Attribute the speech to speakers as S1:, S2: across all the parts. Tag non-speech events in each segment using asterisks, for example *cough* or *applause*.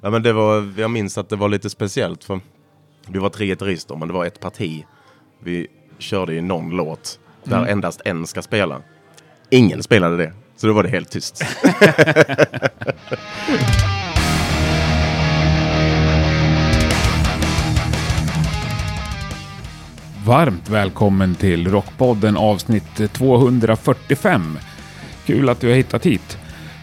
S1: Ja, men det var, jag minns att det var lite speciellt för vi var tre gitarrister men det var ett parti. Vi körde ju någon låt där
S2: Mm.
S1: endast en ska spela. Ingen spelade det, så då var det helt tyst.
S2: Varmt välkommen till Rockpodden avsnitt 245. Kul att du har hittat hit.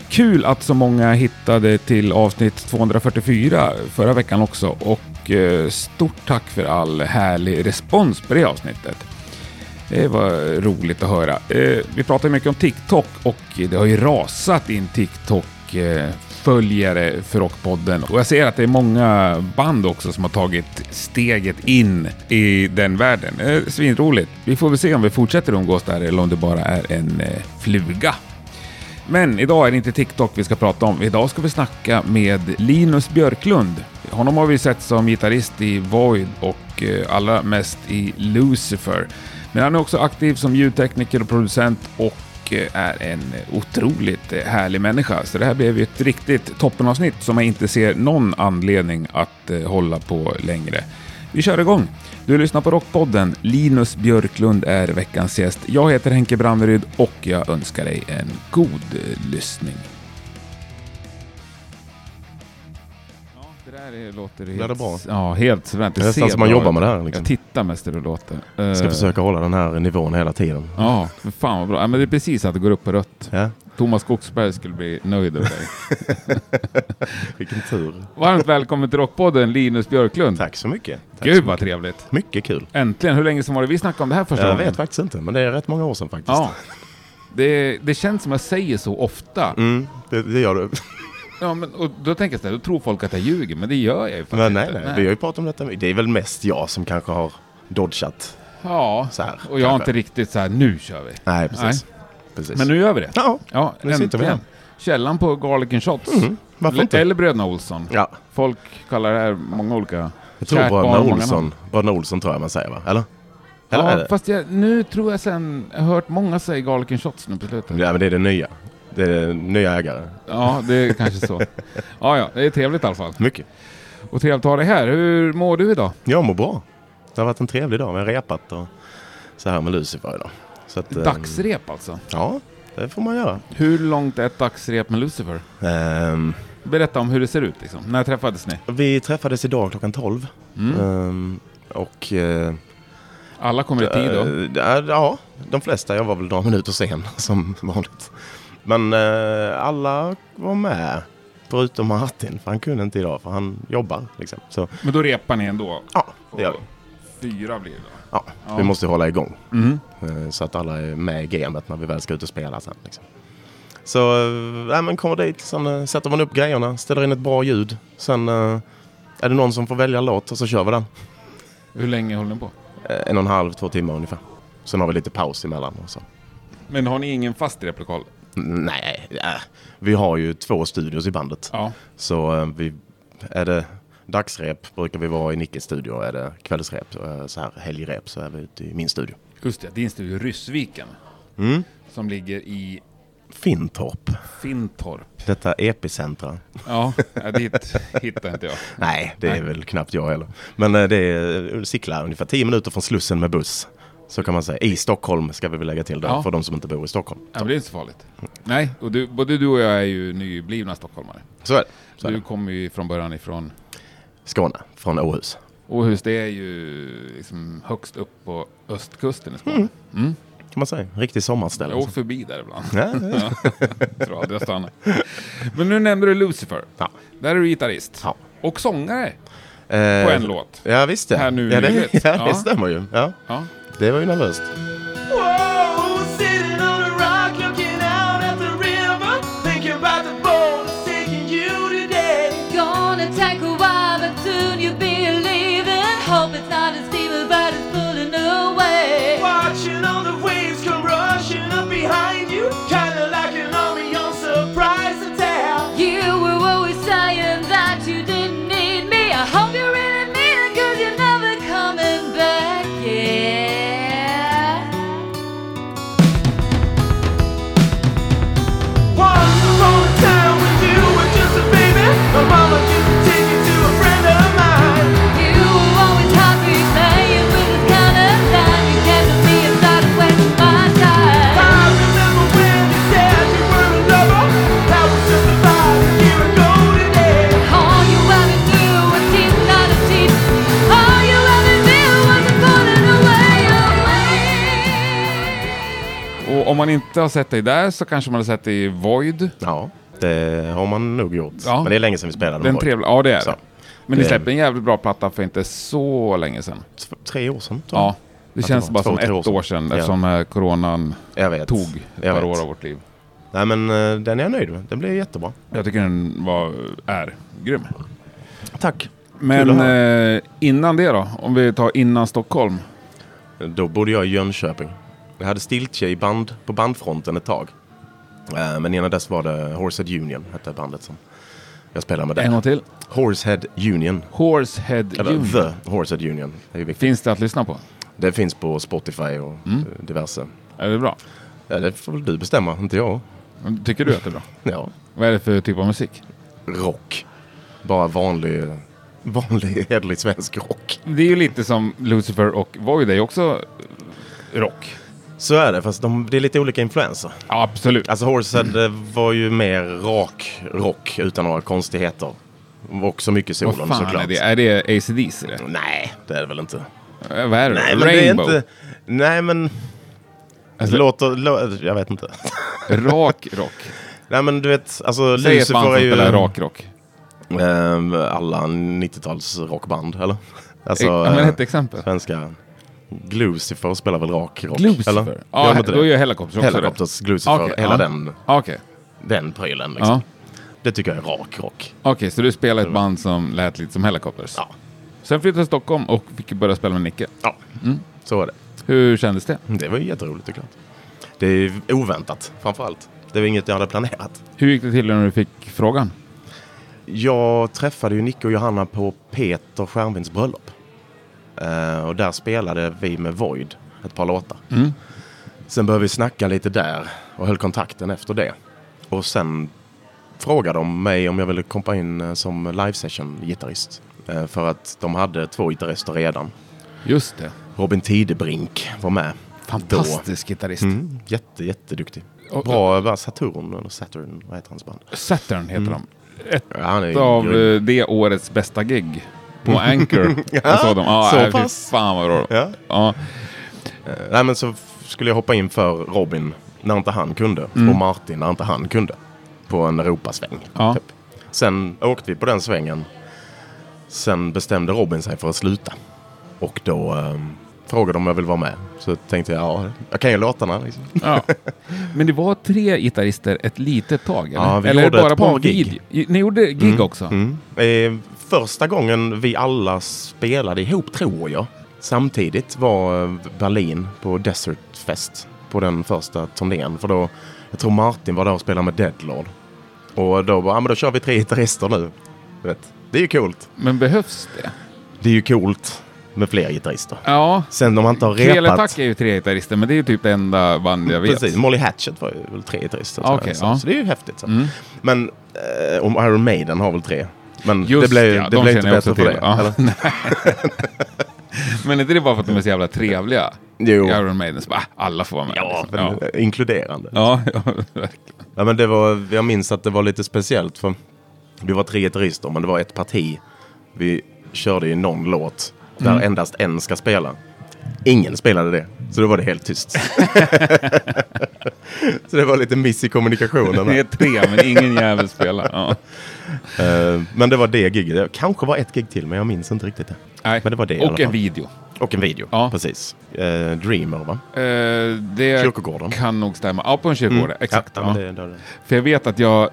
S2: Kul att så många hittade till avsnitt 244 förra veckan också och eh, stort tack för all härlig respons på det avsnittet. Det var Eh, roligt att höra. Eh, Vi pratar mycket om TikTok och det har ju rasat in TikTok-följare för Rockpodden. Och jag ser att det är många band också som har tagit steget in i den världen. Eh, Svinroligt. Vi får väl se om vi fortsätter umgås där eller om det bara är en eh, fluga. Men idag är det inte TikTok vi ska prata om. Idag ska vi snacka med Linus Björklund. Honom har vi sett som gitarrist i Void och eh, allra mest i Lucifer. Men han är också aktiv som ljudtekniker och producent och eh, är en otroligt eh, härlig människa. Så det här blev ju ett riktigt toppenavsnitt som jag inte ser någon anledning att eh, hålla på längre. Vi kör igång! Du lyssnar på Rockpodden. Linus Björklund är veckans gäst. Jag heter Henke Branneryd och jag önskar dig en god eh, lyssning. Ja, det där låter helt...
S1: Ja, det är bra.
S2: Ja, helt suveränt.
S1: Det är nästan
S2: ser
S1: som man
S2: bra
S1: jobbar med
S2: ut.
S1: det här. Liksom.
S2: Jag tittar mest hur det låter. Eh,
S1: Ska försöka hålla den här nivån hela tiden.
S2: Ja, för fan vad bra. Ja, men det är precis att det går upp på rött.
S1: Ja,
S2: Thomas Skogsberg skulle bli nöjd över
S1: *laughs*
S2: dig.
S1: vilken tur.
S2: Varmt välkommen till Rockpodden, Linus Björklund.
S1: Tack så mycket. Tack.
S2: Gud vad trevligt.
S1: Mycket kul.
S2: Äntligen. Hur länge sedan var det vi snackade om det här första
S1: Jag
S2: gången?
S1: vet faktiskt inte, men det är rätt många år sedan faktiskt.
S2: Ja. Det, det känns som jag säger så ofta.
S1: Mm, det, det gör
S2: *laughs*
S1: du.
S2: Ja, men, och då tänker jag så här, då tror folk att jag ljuger, men det gör jag ju faktiskt
S1: Men nej,
S2: inte.
S1: nej, vi har ju pratat om detta. Det är väl mest jag som kanske har dodgat.
S2: Ja,
S1: Så här,
S2: och jag har
S1: kanske.
S2: inte riktigt så här, nu kör vi.
S1: Nej, precis. precis.
S2: Men nu gör vi det.
S1: Ja,
S2: Ja,
S1: nu sitter vi här.
S2: Källan på Garlic and Shots.
S1: varför inte?
S2: Eller Bröderna Olsson.
S1: Ja,
S2: Folk kallar det här många olika...
S1: jag tror
S2: Kärt barn,
S1: Bröderna
S2: många namn.
S1: Olsson, Bröderna Olsson tror jag man säger va? Eller? Eller är
S2: Ja,
S1: det?
S2: fast jag, nu tror jag sen... Jag har hört många säga Garlic and Shots nu på slutet.
S1: Ja, men det är det nya. Det är det nya ägare.
S2: Ja, det är
S1: *laughs*
S2: kanske så. Ja, ja, det är trevligt i alla fall.
S1: Mycket.
S2: Och trevligt att ha dig här. Hur mår du idag?
S1: Jag mår bra. Det har varit en trevlig dag. Vi har repat och så här med Lucifer idag. Så att, eh,
S2: Dagsrep alltså.
S1: Ja, det får man göra.
S2: Hur långt är ett dagsrep med Lucifer?
S1: Ehm,
S2: Berätta om hur det ser ut liksom. När träffades ni?
S1: vi träffades idag klockan 12.
S2: Mm.
S1: Ehm, och... eh,
S2: Alla kommer i tid då?
S1: Eh, ja, ja, de flesta. Jag var väl några minuter sen *laughs* som vanligt. Men eh, alla var med. Förutom Martin, för han kunde inte idag, för han jobbar. Liksom. Så
S2: Men då repar ni ändå?
S1: ja, det gör vi.
S2: Fyra blir det då?
S1: Ja,
S2: Ja.
S1: Vi måste hålla igång.
S2: Mm.
S1: Eh, Så att alla är med i gamet när vi väl ska ut och spela sen. Liksom. Så eh, ja, men kommer dit, sen eh, sätter man upp grejerna, ställer in ett bra ljud. Sen eh, är det någon som får välja låt och så kör vi den.
S2: Hur länge håller ni på?
S1: Eh, En och en halv, två timmar ungefär. Sen har vi lite paus emellan. Och så.
S2: Men har ni ingen fast replokal?
S1: Nej, äh. vi har ju två studios i bandet.
S2: Ja.
S1: Så eh, vi, är det dagsrep brukar vi vara i Nickes studio. Är det kvällsrep, eh, så här helgrep, så är vi ute i min studio.
S2: Just det, din studio Ryssviken. Mm. Som ligger i
S1: Fintorp,
S2: Fintorp.
S1: detta epicentra.
S2: Ja, *laughs* ja, dit hittar inte jag.
S1: Nej, det är väl knappt jag heller. Men eh, det är eh, Sickla, ungefär 10 minuter från Slussen med buss. Så kan man säga. I Stockholm ska vi väl lägga till det,
S2: Ja.
S1: för de som inte bor i Stockholm.
S2: Ja, men det är inte så farligt. Nej, och du, både du och jag är ju nyblivna stockholmare.
S1: Så är det. Så är
S2: Du
S1: det.
S2: kommer ju från början ifrån
S1: Skåne, från Åhus.
S2: Åhus. Det är ju liksom högst upp på östkusten i Skåne.
S1: Kan man säga. Riktig sommarställe.
S2: Jag åker förbi där ibland.
S1: Ja, ja.
S2: Jag tror aldrig jag stannar. Men nu nämnde du Lucifer.
S1: Ja.
S2: Där är du gitarrist.
S1: Ja.
S2: Och sångare på
S1: Eh,
S2: en låt.
S1: Ja visst ja.
S2: Här nu
S1: ja, det,
S2: nyligt.
S1: *laughs* ja, det
S2: Ja.
S1: stämmer ju. Ja,
S2: Ja.
S1: det var ju nervöst.
S3: Whoa, sitting on a rock, looking out at the river, thinking about the boat that's taking you today.
S4: Gonna take a while, but soon you'll be leaving. Hope it's not as evil, but it's pulling away.
S3: Watching all the waves come rushing up behind you, kinda like an army on surprise attack.
S4: You were always saying that you didn't need me. I hope you really mean it, cause you're never coming back. Yeah.
S2: man inte har sett dig där så kanske man har sett dig i Void.
S1: Ja, det har man nog gjort.
S2: Ja.
S1: Men det är länge sedan vi spelade.
S2: Den
S1: Void.
S2: trevliga, ja det är
S1: Så.
S2: det. Men ni
S1: Det-
S2: släppte en jävligt bra platta för inte så länge sedan.
S1: T- Tre år sedan, tror jag.
S2: Ja, det
S1: det
S2: känns
S1: var
S2: bara
S1: två,
S2: som
S1: tre år
S2: ett
S1: sedan.
S2: år sedan
S1: Ja.
S2: eftersom eh, coronan
S1: Jag vet.
S2: tog ett
S1: Jag
S2: par
S1: vet.
S2: år av vårt liv.
S1: Nej, men eh, den är jag nöjd med. Den blev jättebra.
S2: Jag tycker den var, eh, är grym.
S1: Tack. Kul att
S2: Men eh, innan det då? Om vi tar innan Stockholm.
S1: Då bodde jag i Jönköping. Jag hade stiltje i band, på bandfronten ett tag. Eh, Men innan dess var det Horsehead Union, hette bandet som jag spelade med
S2: En gång
S1: där.
S2: till.
S1: Horsehead Union.
S2: Horsehead
S1: Eller
S2: Union.
S1: The Horsehead Union. Det, är ju viktigt.
S2: Finns det att lyssna på?
S1: det finns på Spotify och
S2: Mm.
S1: eh, diverse.
S2: Är det bra?
S1: Ja, det får väl du bestämma, inte jag.
S2: Tycker du att det är bra?
S1: Ja.
S2: Vad är det för typ av musik?
S1: Rock. Bara vanlig, vanlig *laughs* hederlig svensk rock.
S2: Det är ju lite som Lucifer och Void är ju också rock.
S1: Så är det, fast de, det är lite olika influenser.
S2: Ja, absolut.
S1: Alltså Horsehead
S2: Mm.
S1: eh, var ju mer rak rock utan några konstigheter. Och så mycket
S2: Vad
S1: solen
S2: fan
S1: såklart.
S2: är det? Är det ACDC det?
S1: Nej, det är det väl inte.
S2: Eh, Vad är det?
S1: Nej, men
S2: Rainbow?
S1: det är inte... Nej, men...
S2: Alltså-
S1: Låter... Lå, jag vet inte. *laughs*
S2: Rak rock?
S1: Nej, men du vet, alltså
S2: Säg ett
S1: Lucifer
S2: band som
S1: är ju...
S2: spelar rak rock.
S1: ehm, alla 90-tals rockband, eller? Alltså,
S2: Eh, ja, men
S1: eh,
S2: ett exempel.
S1: svenska... Glucifer spelar väl rak rock?
S2: Glucifer?
S1: Eller?
S2: Ja,
S1: Gör de inte
S2: då
S1: det?
S2: gör Hellacopters också
S1: Hellacopters, Glucifer,
S2: Okej,
S1: hela
S2: ja.
S1: den,
S2: det. Ah, Okej,
S1: den prylen. Liksom.
S2: ja.
S1: Det tycker jag är rak rock.
S2: Okej, så du spelade ett band som lät lite som Hellacopters?
S1: Ja.
S2: Sen flyttade du till Stockholm och fick börja spela med Nicke.
S1: Ja,
S2: Mm.
S1: så var det.
S2: Hur kändes det?
S1: Det var ju jätteroligt såklart. Det är oväntat framförallt. Det var inget jag hade planerat.
S2: Hur gick det till när du fick frågan?
S1: Jag träffade ju Nicke och Johanna på Peter Stjärnvinds bröllop. Eh, och där spelade vi med Void ett par låtar.
S2: Mm.
S1: Sen började vi snacka lite där och höll kontakten efter det. Och sen frågade de mig om jag ville komma in eh, som live session gitarrist. Eh, för att de hade två gitarrister redan.
S2: Just det.
S1: Robin Tidebrink var med. Då.
S2: Fantastisk gitarrist.
S1: Mm, jätte, jätteduktig.
S2: Och-
S1: Bra, vad Saturn eller Saturn, vad heter hans band?
S2: Saturn heter
S1: Mm.
S2: de. Ett
S1: Ja, han är
S2: av
S1: grym.
S2: eh, det årets bästa gig.
S1: *laughs*
S2: På Anchor. Jag såg dem. Ja,
S1: Mm. så
S2: nej, fy
S1: pass.
S2: Fan vad bra.
S1: Ja.
S2: Ja.
S1: Nej men så f- skulle jag hoppa in för Robin när inte han kunde. Och Martin när inte han kunde. På en Europasväng.
S2: Ja.
S1: Typ. Sen åkte vi på den svängen. Sen bestämde Robin sig för att sluta. Och då eh, frågade de om jag ville vara med. Så tänkte jag, ja, jag kan ju låtarna. Liksom.
S2: Ja. Men det var tre gitarrister ett litet tag? Eller,
S1: Ja, vi
S2: eller
S1: gjorde ett
S2: på
S1: par
S2: en
S1: gig.
S2: video? I- Ni gjorde gig också?
S1: Eh, första gången vi alla spelade ihop, tror jag, samtidigt var eh, Berlin på Desert Fest på den första turnén. För då, jag tror Martin var där och spelade med Deadlord. Och då bara, ja men då kör vi tre gitarrister nu. Du vet, det är ju coolt.
S2: Men behövs det?
S1: Det är ju coolt med fler gitarrister.
S2: Ja.
S1: Sen om man inte har repat...
S2: Kreletack är ju tre gitarrister, men det är ju typ det enda band jag vet.
S1: Precis, Molly Hatchet var ju väl tre gitarrister.
S2: Ah, okej,
S1: så,
S2: ja. Mm.
S1: så det är ju häftigt. Så. Men eh, om Iron Maiden har väl tre. Men
S2: Just
S1: det blev,
S2: ja,
S1: det
S2: de
S1: blev
S2: känner
S1: inte
S2: jag
S1: bättre för
S2: också till.
S1: det.
S2: Ja.
S1: eller?
S2: *laughs* Men är inte det bara för att de är så jävla trevliga?
S1: Jo.
S2: Iron Maiden, så bara, ah, alla får vara med.
S1: Ja,
S2: liksom.
S1: men, eh, inkluderande. Ja.
S2: ja. *laughs* ja, verkligen.
S1: men det var, jag minns att det var lite speciellt för vi var tre gitarrister men det var ett parti. Vi körde ju någon låt där
S2: Mm.
S1: endast en ska spela. Ingen spelade det, så då var det helt
S2: *laughs*
S1: tyst. så det var lite miss i kommunikationen.
S2: *laughs* Ni är tre, men ingen jävel spelar. Ja.
S1: Eh, men det var det giget. Det kanske var ett gig till, men jag minns inte riktigt det.
S2: Nej.
S1: Men det var det i alla
S2: Och en
S1: fall.
S2: video.
S1: Och en video,
S2: Ja.
S1: precis. Eh, Dreamer, va?
S2: Eh, det
S1: Kyrkogården.
S2: kan nog stämma. Ja, på en kyrkogård. Exakt.
S1: Ja,
S2: ja.
S1: men det- det- det-
S2: För jag vet att jag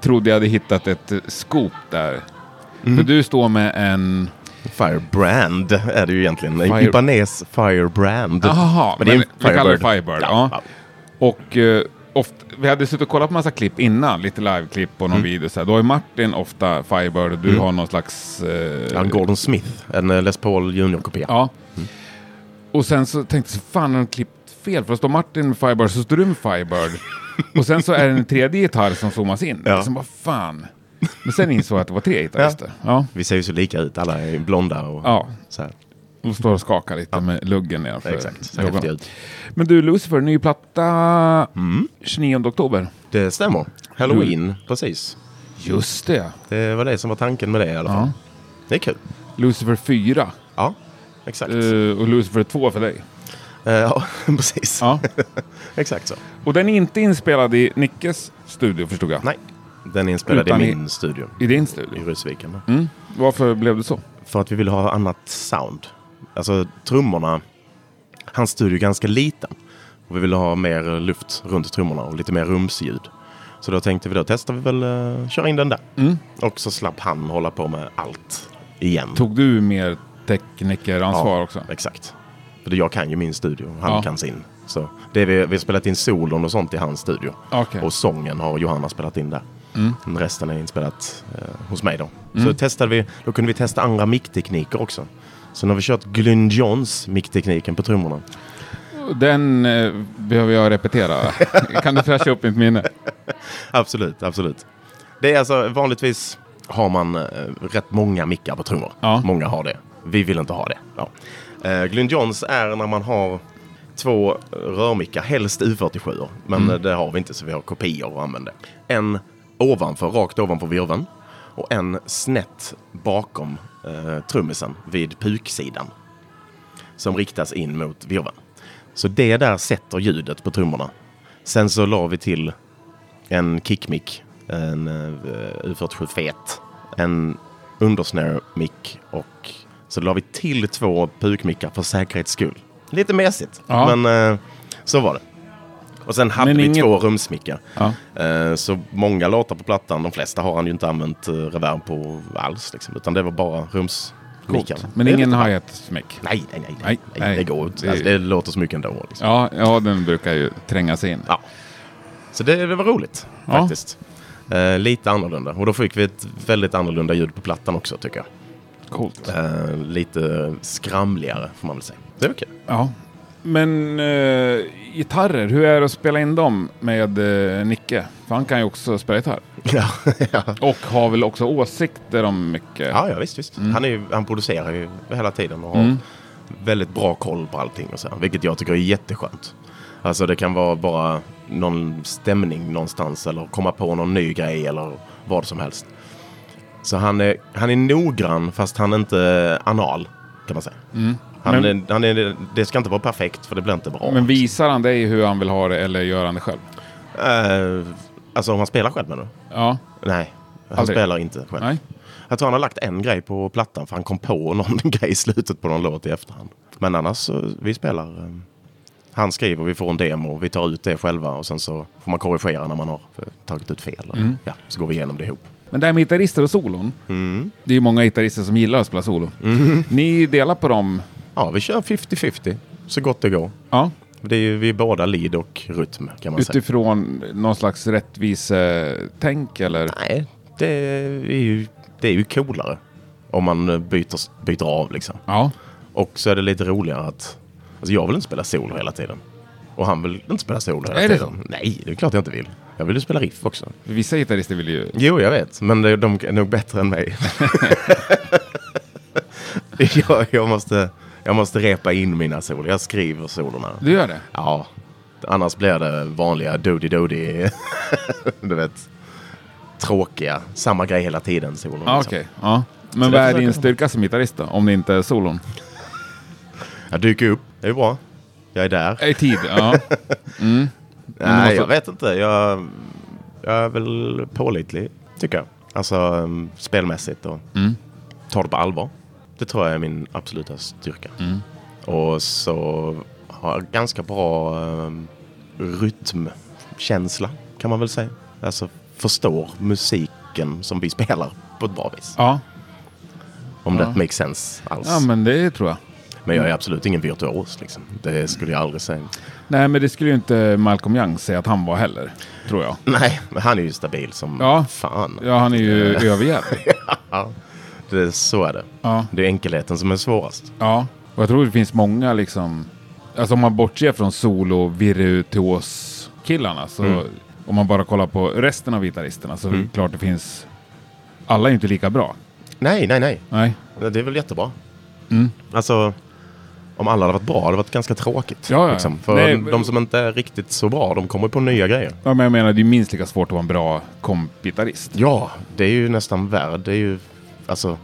S2: trodde jag hade hittat ett eh, scoop där. För du står med en...
S1: Firebrand är det ju egentligen.
S2: Fire-
S1: Ibanez Firebrand.
S2: Jaha, men,
S1: Men det är en
S2: vi kallar det
S1: Firebird.
S2: Firebird. Ja. Och eh, oft, vi hade suttit och kollat på massa klipp innan, lite liveklipp på någon video. Så här. Då har ju Martin ofta Firebird och du har någon slags... eh,
S1: Ja, en Gordon Smith, en eh, Les Paul Junior-kopia.
S2: ja. Och sen så tänkte jag, fan har de klippt fel? För då står Martin med Firebird, så står du med Firebird. och sen så är det en tredje gitarr som zoomas in.
S1: Ja.
S2: Sen bara, fan. Men sen insåg jag att det var tre gitarrister. ja.
S1: Vi ser ju så lika ut, alla är blonda och
S2: Ja.
S1: så här.
S2: Och står och skakar lite med luggen nedanför
S1: Exakt, så
S2: ögonen.
S1: häftiga ut.
S2: Men du Lucifer, ny platta 29 oktober.
S1: Det stämmer. Halloween, precis.
S2: Just det.
S1: Det var det som var tanken med det i alla fall. Det är kul.
S2: Lucifer eh, 4
S1: Ja, exakt.
S2: eh, och Lucifer 2 för dig.
S1: Eh, ja, *laughs* precis.
S2: Ja.
S1: Exakt så.
S2: Och den är inte inspelad i Nickes studio förstod jag.
S1: Nej, den är inspelad
S2: Utan
S1: i
S2: i-
S1: min studio
S2: I din
S1: i
S2: studio.
S1: Rysviken.
S2: Varför blev det så?
S1: För att vi ville ha annat sound. Alltså trummorna, hans studio är ganska liten. Och vi ville ha mer eh, luft runt trummorna och lite mer rumsljud. Så då tänkte vi då testar vi väl eh, köra in den där. Och så slapp han hålla på med allt igen.
S2: Tog du mer teknikeransvar också?
S1: Exakt. För jag kan ju min studio och han
S2: Ja.
S1: kan sin. Så det vi, vi har spelat in solon och sånt i hans studio.
S2: Okej. Mm.
S1: Och sången har Johanna spelat in där. Men Resten är inspelat eh, hos mig då. Så testade vi, då kunde vi testa andra micktekniker också. Så nu har vi kört Glyn Johns micktekniken på trummorna.
S2: Den eh, behöver
S1: *laughs*
S2: jag repetera. kan du fräscha upp mitt minne?
S1: Absolut, absolut. Det är alltså vanligtvis har man eh, rätt många mickar på trummor.
S2: Ja.
S1: Många har det. Vi vill inte ha det. Ja. Eh, Glyn Johns är när man har två rörmickar, helst U47. Men eh, det har vi inte så vi har kopior och använder. En ovanför, rakt ovanför virveln. Och en snett bakom eh, trummisen vid puksidan. Som riktas in mot virveln. Så det där sätter ljudet på trummorna. Sen så la vi till en kickmick, en eh, U47 fet, en undersnare-mick och så la vi till två pukmickar för säkerhets skull. Lite mesigt,
S2: Ja.
S1: men eh, så var det. Och sen hade
S2: Men
S1: vi
S2: inget-
S1: två rumsmickar.
S2: Ja.
S1: Eh, Så många låtar på plattan, de flesta har han ju inte använt eh, reverb på alls. Liksom, utan det var bara rumsmickar.
S2: Coolt. Men
S1: Det är
S2: ingen
S1: lite-
S2: hi-hat-smick?
S1: Nej, nej, nej.
S2: Nej,
S1: nej,
S2: nej.
S1: Det går inte.
S2: Det-
S1: Alltså, det låter så mycket ändå. Liksom.
S2: Ja, ja, den brukar ju tränga sig in.
S1: Ja. Så det, det var roligt
S2: Ja.
S1: faktiskt. Eh, lite annorlunda. Och då fick vi ett väldigt annorlunda ljud på plattan också tycker jag.
S2: Coolt.
S1: Eh, lite skramligare får man väl säga. Det var kul.
S2: Ja. Men eh, gitarrer, hur är det att spela in dem med eh, Nicke? För han kan ju också spela gitarr.
S1: Ja, *laughs* ja.
S2: Och har väl också åsikter om mycket.
S1: ja, ja visst, visst.
S2: Mm.
S1: Han, är, ju- han producerar ju hela tiden och har väldigt bra koll på allting. Och så, här, vilket jag tycker är jätteskönt. Alltså det kan vara bara någon stämning någonstans eller komma på någon ny grej eller vad som helst. Så han är, han är noggrann fast han är inte anal kan man säga. Han
S2: Mm. Men-
S1: är, han är, det ska inte vara perfekt för det blir inte bra.
S2: Men visar han dig hur han vill ha det eller gör han det själv?
S1: Eh, alltså om han spelar själv menar du?
S2: Ja.
S1: Nej, han
S2: Aldrig.
S1: spelar inte själv.
S2: Nej.
S1: Jag tror han har lagt en grej på plattan för han kom på *laughs* någon grej i slutet på någon låt i efterhand. Men annars, så, vi spelar. eh, Han skriver, vi får en demo, vi tar ut det själva och sen så får man korrigera när man har eh, tagit ut fel. Ja, så går vi igenom det ihop.
S2: Men det här med gitarrister och solon.
S1: Mm.
S2: Det är ju många gitarrister som gillar att spela solo. Ni delar på dem.
S1: Ja, vi kör 50-50, så gott det går.
S2: Ja.
S1: Det är ju, vi är båda lead och rytm kan man säga.
S2: Utifrån någon slags rättvisetänk eller?
S1: Nej, det är ju, det är ju coolare om man eh, byter, byter av liksom.
S2: Ja.
S1: Och så är det lite roligare att... Alltså jag vill inte spela solo hela tiden. Och han vill inte spela solo hela
S2: Är det
S1: tiden. Nej, det är klart jag inte vill. Jag vill ju spela riff också.
S2: Vissa gitarrister vill ju...
S1: Jo, jag vet. Men det- de är nog bättre än mig. *laughs* jag, jag, måste, jag måste repa in mina solo. Jag skriver solorna.
S2: Du gör det?
S1: Ja. Annars blir det vanliga doody doody *laughs* Du vet. Tråkiga. Samma grej hela tiden. Solon,
S2: Ja,
S1: liksom.
S2: okej. Ja. Men
S1: Så
S2: vad
S1: det
S2: är din
S1: försöker
S2: styrka som gitarrist då? Om det inte är solon?
S1: Jag dyker upp. Det är bra. Jag är där.
S2: I tid? Ja.
S1: Nej,
S2: måste-
S1: jag vet inte. Jag, jag är väl pålitlig, tycker jag. Alltså um, spelmässigt och
S2: Mm.
S1: tar det på allvar. Det tror jag är min absoluta styrka.
S2: Mm.
S1: Och så har jag ganska bra um, rytmkänsla, kan man väl säga. Alltså förstår musiken som vi spelar på ett bra vis.
S2: ja.
S1: Om det makes sense alls.
S2: Ja,
S1: men...
S2: men det tror jag.
S1: jag är absolut ingen virtuos, liksom. Det skulle jag aldrig säga.
S2: Nej, men det skulle ju inte Malcolm Young säga att han var heller. Tror jag.
S1: Nej, men han är ju stabil som
S2: Ja.
S1: fan.
S2: Ja, han
S1: *laughs*
S2: är ju överjävlig.
S1: Det, eh, så är det.
S2: Ja.
S1: Det är enkelheten som är svårast.
S2: Ja, och jag tror det finns många liksom... Alltså om man bortser från solo virtuos killarna så om man bara kollar på resten av gitarristerna så är det klart det finns... Alla är ju inte lika bra.
S1: Nej, nej, nej.
S2: Nej.
S1: Det är väl jättebra.
S2: Mm.
S1: Alltså, om alla hade varit bra hade det varit ganska tråkigt.
S2: Ja, ja.
S1: Liksom. För
S2: Nej, men-
S1: de som inte är riktigt så bra, de kommer på nya grejer.
S2: Ja, men jag menar det är minst lika svårt att vara en bra kompgitarrist.
S1: Ja, det är ju nästan värd. Det är ju, alltså,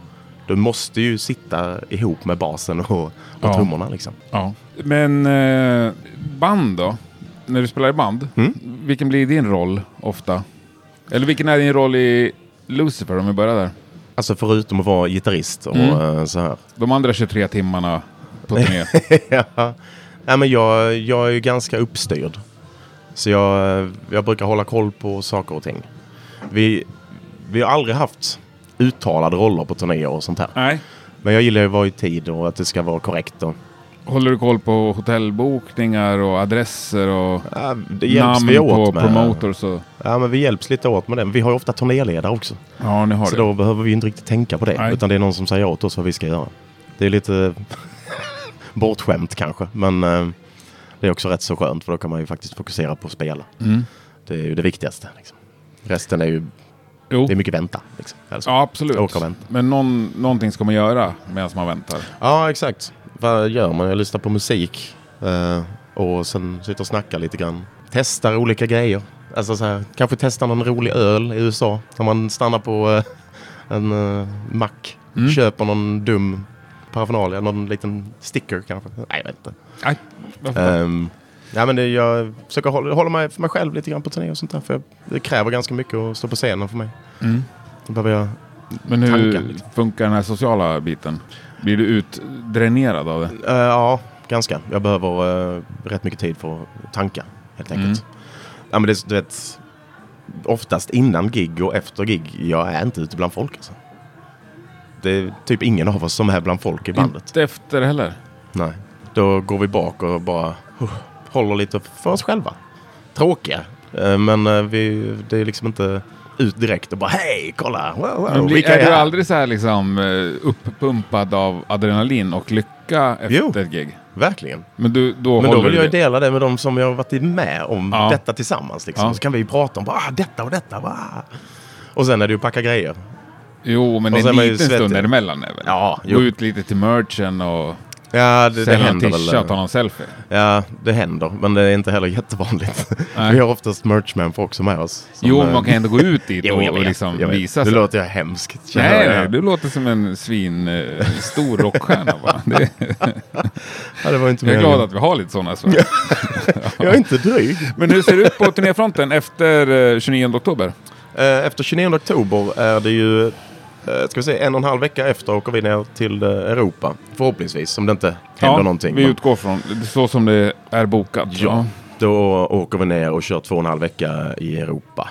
S1: Du måste ju sitta ihop med basen och, och
S2: Ja.
S1: trummorna liksom.
S2: Ja. Men eh, band då? När du spelar i band, vilken blir din roll ofta? Eller vilken är din roll i Lucifer om vi börjar där?
S1: Alltså förutom att vara gitarrist och
S2: Mm.
S1: eh, så här.
S2: De andra 23 timmarna på *laughs* turné.
S1: *laughs* ja. Nej, men jag, jag är ju ganska uppstyrd. Så jag, jag brukar hålla koll på saker och ting. Vi, vi har aldrig haft uttalade roller på turnéer och sånt här.
S2: Nej.
S1: Men jag gillar ju att vara i tid och att det ska vara korrekt. Och,
S2: Håller du koll på hotellbokningar och adresser och
S1: ja, det hjälps
S2: namn
S1: vi åt
S2: på
S1: med.
S2: promoters? Och...
S1: Ja, men vi hjälps lite åt med det. Men Vi har ju ofta turnéledare också.
S2: Ja, ni har
S1: Så
S2: det.
S1: då behöver vi ju inte riktigt tänka på det.
S2: Nej.
S1: Utan det är någon som säger åt oss vad vi ska göra. Det är lite *laughs* bortskämt kanske. Men eh, det är också rätt så skönt för då kan man ju faktiskt fokusera på att spela.
S2: Mm.
S1: Det är ju det viktigaste. Liksom. Resten är ju
S2: Jo.
S1: det är mycket vänta. Liksom. Eller så.
S2: Ja, absolut.
S1: Åka och vänta.
S2: Men någon, någonting ska man göra medan man väntar.
S1: ja, exakt. Vad gör man? Jag lyssnar på musik eh, och sen sitter och snackar lite grann. Testar olika grejer. Alltså så här, kanske testar någon rolig öl i USA. När man stannar på eh, en eh, mack.
S2: Mm.
S1: Köper någon dum paraphernalia, någon liten sticker kanske. Nej, jag vet inte.
S2: Nej, varför då?
S1: Ehm, ja, men det, jag försöker hålla, hålla mig för mig själv lite grann på turné och sånt där. För jag, det kräver ganska mycket att stå på scenen för mig.
S2: Mm.
S1: Då behöver jag
S2: Men hur
S1: tankar, liksom.
S2: funkar den här sociala biten? Blir du utdränerad av det?
S1: Eh, ja, ganska. Jag behöver eh, rätt mycket tid för att tanka, helt
S2: Mm.
S1: enkelt. Ja, men det, du vet, oftast innan gig och efter gig, jag är inte ute bland folk. Alltså. Det är typ ingen av oss som är bland folk i bandet.
S2: Inte efter heller.
S1: Nej. Då går vi bak och bara huh, håller lite för oss själva. Tråkiga. Eh, Men eh, vi, det är liksom inte ut direkt och bara hej, kolla, wow, wow,
S2: Men blir,
S1: vilka
S2: är du
S1: här?"
S2: aldrig så här liksom eh, uppumpad av adrenalin och lycka efter
S1: Jo.
S2: ett gig?
S1: Verkligen.
S2: Men, du, då
S1: Men då
S2: håller
S1: vill
S2: du
S1: jag ju
S2: det.
S1: dela det med de som jag har varit med om
S2: Ja.
S1: detta tillsammans. Liksom.
S2: Ja.
S1: Så kan vi ju prata om bara, ah, detta och detta. Bara. Och sen är det ju att packa grejer.
S2: Jo, men
S1: Och
S2: en
S1: sen var jag ju
S2: liten stund
S1: svettig.
S2: däremellan är väl?
S1: Ja,
S2: Gå
S1: jo.
S2: ut lite till merchen och
S1: Ja, det, det
S2: sälja en
S1: händer
S2: tisha och ta
S1: väl. eh,
S2: någon selfie.
S1: Ja, det händer. Men det är inte heller jättevanligt.
S2: *laughs* Nej.
S1: vi har oftast merchmänniskor också med oss. som,
S2: jo,
S1: eh,
S2: men man kan ändå gå ut
S1: *laughs*
S2: dit
S1: Jo,
S2: och,
S1: jag
S2: och
S1: vet,
S2: liksom
S1: jag vet.
S2: visa
S1: Nu
S2: sig.
S1: låter jag hemskt. känner
S2: Nej,
S1: jag.
S2: nej, du låter som en svin, eh, stor rockstjärna. Va? Det,
S1: Ja, det var inte
S2: jag är
S1: meningen.
S2: glad att vi har lite sådana. Så.
S1: Jag är inte dryg.
S2: Men hur ser det ut på turnéfronten efter eh, 29 oktober?
S1: Eh, Efter 29 oktober är det ju, eh, ska vi se, en och en halv vecka efter åker vi ner till eh, Europa. Förhoppningsvis, om det inte händer någonting.
S2: vi
S1: Men-
S2: utgår från så som det är bokat.
S1: Ja, då åker vi ner och kör två och en halv vecka i Europa.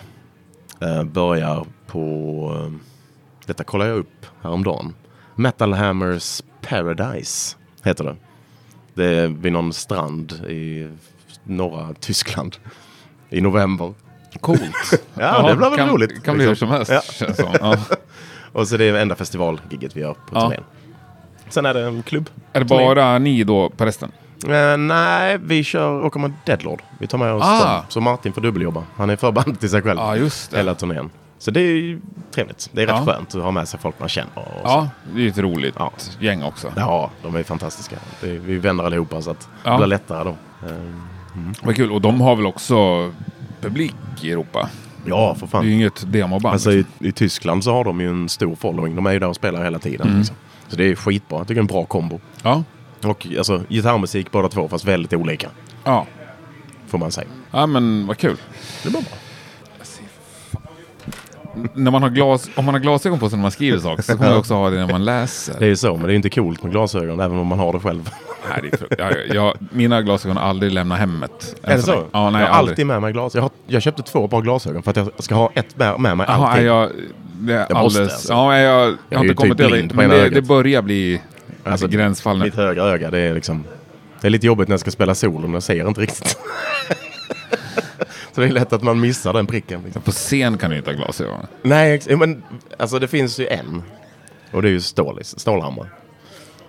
S1: Eh, börjar på, eh, detta kollar jag upp häromdagen, Metal Hammers Paradise heter det. Det är vid någon strand i norra Tyskland i november.
S2: Coolt.
S1: *laughs* Ja, det blir väl
S2: kan,
S1: roligt. liksom.
S2: kan bli hur som helst,
S1: Ja.
S2: känns som. Ja.
S1: Och så det är det enda festivalgigget vi gör på
S2: Ja.
S1: turnén. Sen är det en klubb.
S2: Är det bara ni då på resten?
S1: Eh, nej, vi kör åker med Deadlord. Vi tar med oss
S2: Ah.
S1: dem. Så Martin får dubbeljobba. Han är förband till sig själv.
S2: Ja, just det.
S1: Hela turnén. Så det är ju trevligt. Det är rätt
S2: Ja.
S1: skönt att ha med sig folk man känner. Och så.
S2: Ja, det är ju ett roligt
S1: Ja.
S2: gäng också.
S1: ja, de är fantastiska. Det är- Vi är vänner allihopa så att
S2: Ja.
S1: det blir lättare då. Eh,
S2: Vad kul. Och de har väl också publik i Europa?
S1: Ja, för
S2: Det är ju
S1: fan.
S2: inget demoband.
S1: Alltså i, i Tyskland så har de ju en stor following. De är ju där och spelar hela tiden.
S2: Mm.
S1: Liksom. Så det är skitbra. Jag tycker det är en bra kombo.
S2: ja.
S1: Och alltså, gitarrmusik båda två, fast väldigt olika.
S2: ja.
S1: Får man säga.
S2: Ja, men vad kul.
S1: Det blir bra.
S2: När man har glas, om man har glasögon på sig när man skriver saker så kommer man också ha det när man läser.
S1: Det är ju så, men det är ju inte coolt med glasögon även om man har det själv.
S2: Nej, det är frukt- jag, jag, mina glasögon har aldrig lämnat hemmet.
S1: Är det så?
S2: Ja, nej,
S1: jag har
S2: aldrig.
S1: alltid med mig glas. Jag, har, jag köpte två par glasögon för att jag ska ha ett med, med mig
S2: Jaha,
S1: alltid.
S2: är jag, det är
S1: Jag måste,
S2: alldeles,
S1: alltså.
S2: ja, är jag, jag
S1: är
S2: har
S1: ju
S2: inte
S1: typ
S2: kommit över
S1: blind
S2: det,
S1: på
S2: men
S1: ena
S2: det,
S1: ögat.
S2: det börjar bli alltså,
S1: Alltså,
S2: gränsfall nu.
S1: Mitt högra öga, det är liksom... Det är lite jobbigt när jag ska spela solo, men jag ser inte riktigt. *laughs* så det är lätt att man missar den pricken. Liksom.
S2: På scen kan du inte ha glasögon.
S1: Nej, ex- men alltså det finns ju en. Och det är ju Stålis, Stålhammar.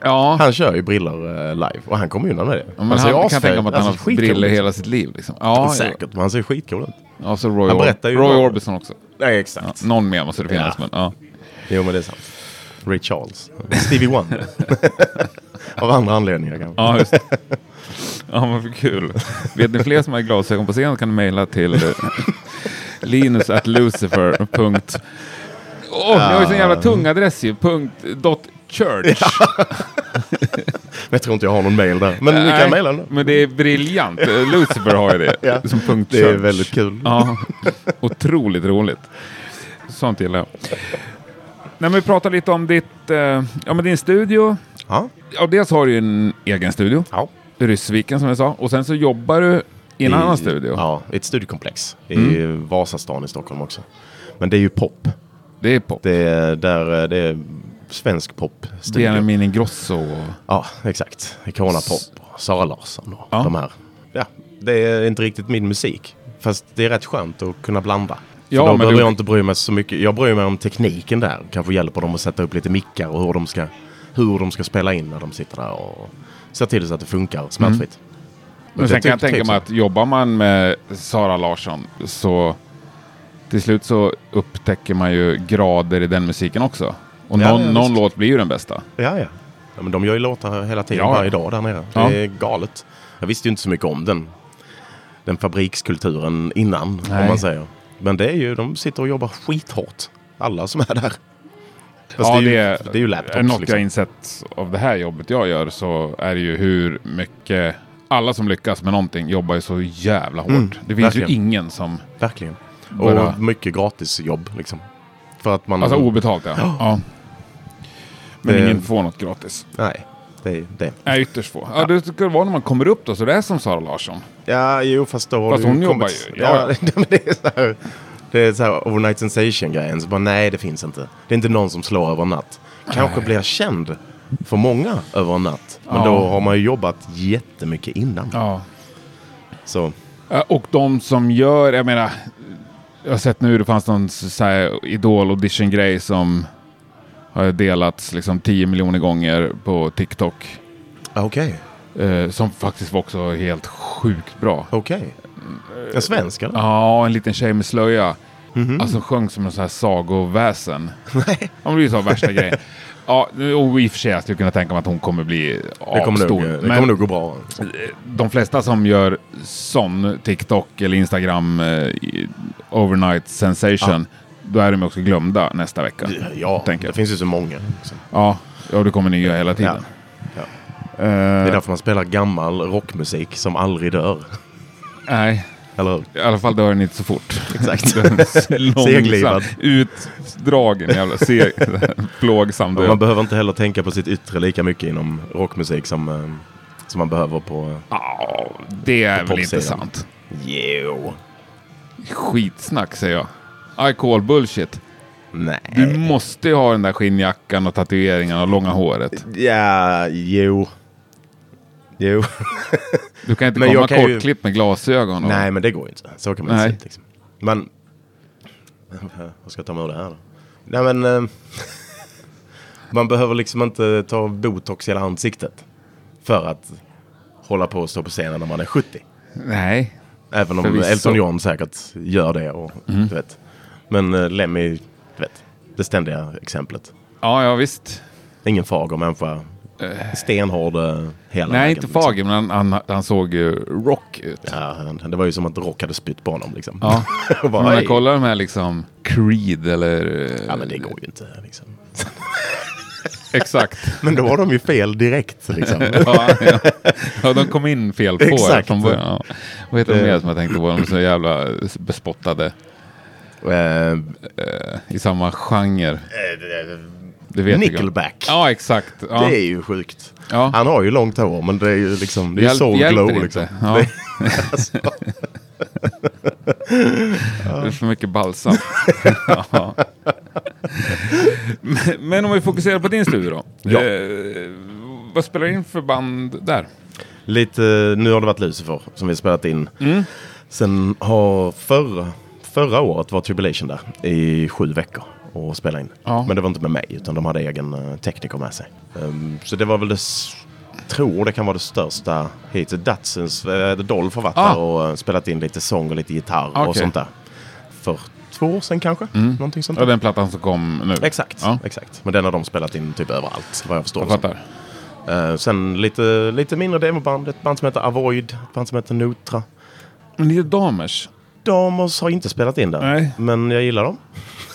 S2: Ja,
S1: Han kör ju briller eh, live och han kommer undan med det. ser
S2: men han,
S1: ju
S2: jag kan
S1: asfet-
S2: tänka mig att han
S1: alltså,
S2: har haft
S1: skitcool
S2: briller
S1: ut.
S2: hela sitt liv. Liksom. Ja,
S1: Säkert, men han ser skitcool ut.
S2: Ja, och så Roy,
S1: Han
S2: Or-
S1: berättar ju
S2: Roy
S1: bara-
S2: Orbison också.
S1: Nej, exakt.
S2: Någon mer måste det finnas,
S1: Ja.
S2: men ja.
S1: Jo, men det är sant. Ray Charles. Stevie
S2: *laughs*
S1: Wonder. Av andra anledningar kanske.
S2: Ja, just det. Ja, men för kul. Vet ni fler som har glasögon på scen kan ni mejla till eh, linus
S1: Ah.
S2: at lucifer. Åh, ni har ju sån jävla tung adress ju. Punkt, dot Church.
S1: Men jag tror inte jag har någon mail där. Men ni
S2: Nej,
S1: kan mejla den.
S2: Men det är briljant. Eh, Lucifer har ju det
S1: Ja.
S2: som punkt
S1: Det är
S2: search.
S1: väldigt kul.
S2: Ja, otroligt roligt. Sånt gillar jag. Nej, men vi pratar lite om ditt, eh, ja, men din studio.
S1: Ja.
S2: Ja, dels har du ju en egen studio,
S1: ja.
S2: Ryssviken som jag sa, och sen så jobbar du i en annan studio. Mm.
S1: Ja, i ett studiekomplex i Vasastan i Stockholm också. Men det är ju pop.
S2: Det är pop.
S1: Det är, där, eh, det är svensk pop.
S2: Benjamin Ingrosso. och-
S1: Ja, exakt. Icona Pop, och Sara Larsson och
S2: Ja.
S1: de här. Ja, det är inte riktigt min musik. Fast det är rätt skönt att kunna blanda.
S2: Ja,
S1: Ja, då
S2: men
S1: behöver
S2: du-
S1: jag inte bry mig så mycket. Jag bryr mig om tekniken där. Kanske hjälper dem att sätta upp lite mickar och hur de ska, hur de ska spela in när de sitter där och se till så att det funkar smärtfritt.
S2: Mm. Men
S1: Det
S2: sen kan jag
S1: tycker-
S2: tänka mig
S1: tycker
S2: att jobbar man med Sara Larsson så till slut så upptäcker man ju grader i den musiken också. Och
S1: Ja,
S2: någon,
S1: ja,
S2: någon
S1: visst.
S2: låt blir ju den bästa.
S1: Ja, ja. ja men de gör ju låtar hela tiden,
S2: Ja.
S1: varje dag där nere. Det
S2: Ja.
S1: är galet. Jag visste ju inte så mycket om den, den fabrikskulturen innan,
S2: Nej.
S1: om man säger. Men det är ju, de sitter och jobbar skithårt, alla som är där. Fast
S2: ja,
S1: det,
S2: det
S1: är ju, det är ju laptops.
S2: är något
S1: liksom.
S2: jag insett av det här jobbet jag gör så är det ju hur mycket alla som lyckas med någonting jobbar ju så jävla hårt.
S1: Mm,
S2: det finns ju
S1: verkligen.
S2: ingen som...
S1: Verkligen.
S2: Bara-
S1: Och mycket gratisjobb liksom. För att man...
S2: Alltså obetalt ja. ja. Men
S1: Mm. Det-
S2: ingen får något gratis.
S1: nej, det är det.
S2: Nej, ytterst få. Ja, det ska vara när man kommer upp då, så det är som Sara Larsson.
S1: Ja, jo, fast då har
S2: Fast
S1: du
S2: hon jobbar
S1: kommit-
S2: ju. Ja,
S1: *laughs* Ja, men det är så här... Det är så här overnight sensation-grejen. Så bara, nej, det finns inte. Det är inte någon som slår över en natt. Kanske blir jag känd för många över en natt. Men
S2: Ja.
S1: då har man ju jobbat jättemycket innan.
S2: Ja.
S1: Så,
S2: Eh, Och de som gör, jag menar, jag har sett nu det fanns någon så här idol audition grej som har delats liksom 10 miljoner gånger på TikTok.
S1: ja, okej.
S2: Eh, som faktiskt var också helt sjukt bra.
S1: Okej. En svensk, eller?
S2: Ja, en liten tjej med slöja.
S1: Mhm.
S2: Alltså sjöng som en sån här sagoväsen. Nej. Hon blir så värsta grejen. Ja, och i och för sig jag skulle kunna tänka mig att hon kommer bli
S1: Det kommer,
S2: avstor.
S1: nog, det
S2: Men-
S1: kommer nog gå bra.
S2: de flesta som gör sån TikTok eller Instagram eh, i- overnight sensation, då är de också glömda nästa vecka.
S1: Ja,
S2: tänker
S1: det
S2: jag.
S1: finns ju så många. Liksom.
S2: Ja, ja, det kommer nya hela
S1: Ja.
S2: tiden.
S1: Ja. Det är
S2: Eh,
S1: därför man spelar gammal rockmusik som aldrig dör.
S2: nej,
S1: Eller
S2: *laughs*
S1: hur?
S2: i alla fall dör den inte så fort.
S1: Exakt.
S2: *laughs* Den är långsam,
S1: Seglivad.
S2: Utdragen jävla seg, *laughs* plågsam
S1: Och man
S2: död.
S1: behöver inte heller tänka på sitt yttre lika mycket inom rockmusik som, eh, som man behöver på... eh,
S2: Ah. Ja, det är väl inte
S1: popsidan.
S2: sant.
S1: Jo.
S2: Skitsnack säger jag. I call bullshit. Du
S1: Nej.
S2: måste ju ha den där skinnjackan och tatueringarna och långa håret.
S1: Ja, jo. Jo.
S2: Du kan inte
S1: Men
S2: komma
S1: jag kan ju-
S2: kortklippt med glasögon. Och...
S1: Nej, men det går ju inte. Så kan man
S2: Nej.
S1: inte se liksom. Men... Vad ska jag ta med ur det här då? Nej, men... eh, *laughs* man behöver liksom inte ta botox i hela ansiktet. För att hålla på och stå på scenen när man är 70.
S2: Nej.
S1: Även om
S2: Förvisso. Mm.
S1: Elton John säkert gör det. Och, du vet. Men eh, Lemmy, du vet, det ständiga exemplet.
S2: Ja, ja visst.
S1: Ingen fager människa. Stenhård eh, hela
S2: Nej,
S1: vägen,
S2: inte
S1: liksom.
S2: fager, men han, han, han såg ju rock ut. Ja.
S1: Ja, han- det var ju som att Rock hade spytt på honom. Liksom. *laughs* och
S2: Men
S1: bara,
S2: om jag
S1: "Hej."
S2: kollar de här liksom Creed eller... eh,
S1: ja, men det går ju inte. Liksom. *laughs*
S2: Exakt.
S1: Men då har de ju fel direkt.
S2: *laughs*
S1: Liksom.
S2: ja, ja. ja, de kom in fel på er
S1: Exakt. Eh.
S2: från början. Ja. Vad heter de
S1: Det-
S2: mer som jag tänkte på? De är så jävla bespottade
S1: Eh,
S2: i samma genre. Det vet jag.
S1: Nickelback.
S2: Ja, exakt. Ja.
S1: Det är ju sjukt.
S2: Ja.
S1: Han har ju långt hår, men det är ju liksom, det är
S2: Hjälp-
S1: ju soul
S2: hjälper
S1: glow.
S2: inte.
S1: Liksom.
S2: Ja.
S1: *laughs* Det- alltså,
S2: Det är för mycket balsam. *laughs* Ja. men, men om vi fokuserar på din studio då.
S1: Ja.
S2: Eh, vad spelar du in för band där?
S1: Lite, nu har det varit Lucifer som vi har spelat in.
S2: Mm.
S1: Sen har förra, förra året var Tribulation där i sju veckor och spela in.
S2: Ja.
S1: Men det var inte med mig utan de hade egen eh, tekniker med sig. Ehm, så det var väl det, s- tror det kan vara det största hittills. Datsuns, uh, Dolph har varit
S2: Ah.
S1: där och eh, spelat in lite sång och lite gitarr
S2: Okej.
S1: och sånt där. För två år sedan kanske? Någonting sånt
S2: Ja,
S1: där.
S2: den plattan som kom nu.
S1: Exakt,
S2: Ja.
S1: exakt. Men den har de spelat in typ överallt vad jag förstår.
S2: Jag
S1: det som.
S2: fattar.
S1: Eh, sen lite, lite mindre demoband. Ett band som heter Avoid, ett band som heter Nutra.
S2: Men det är Damers.
S1: Damers har inte spelat in där,
S2: Nej.
S1: men jag gillar dem.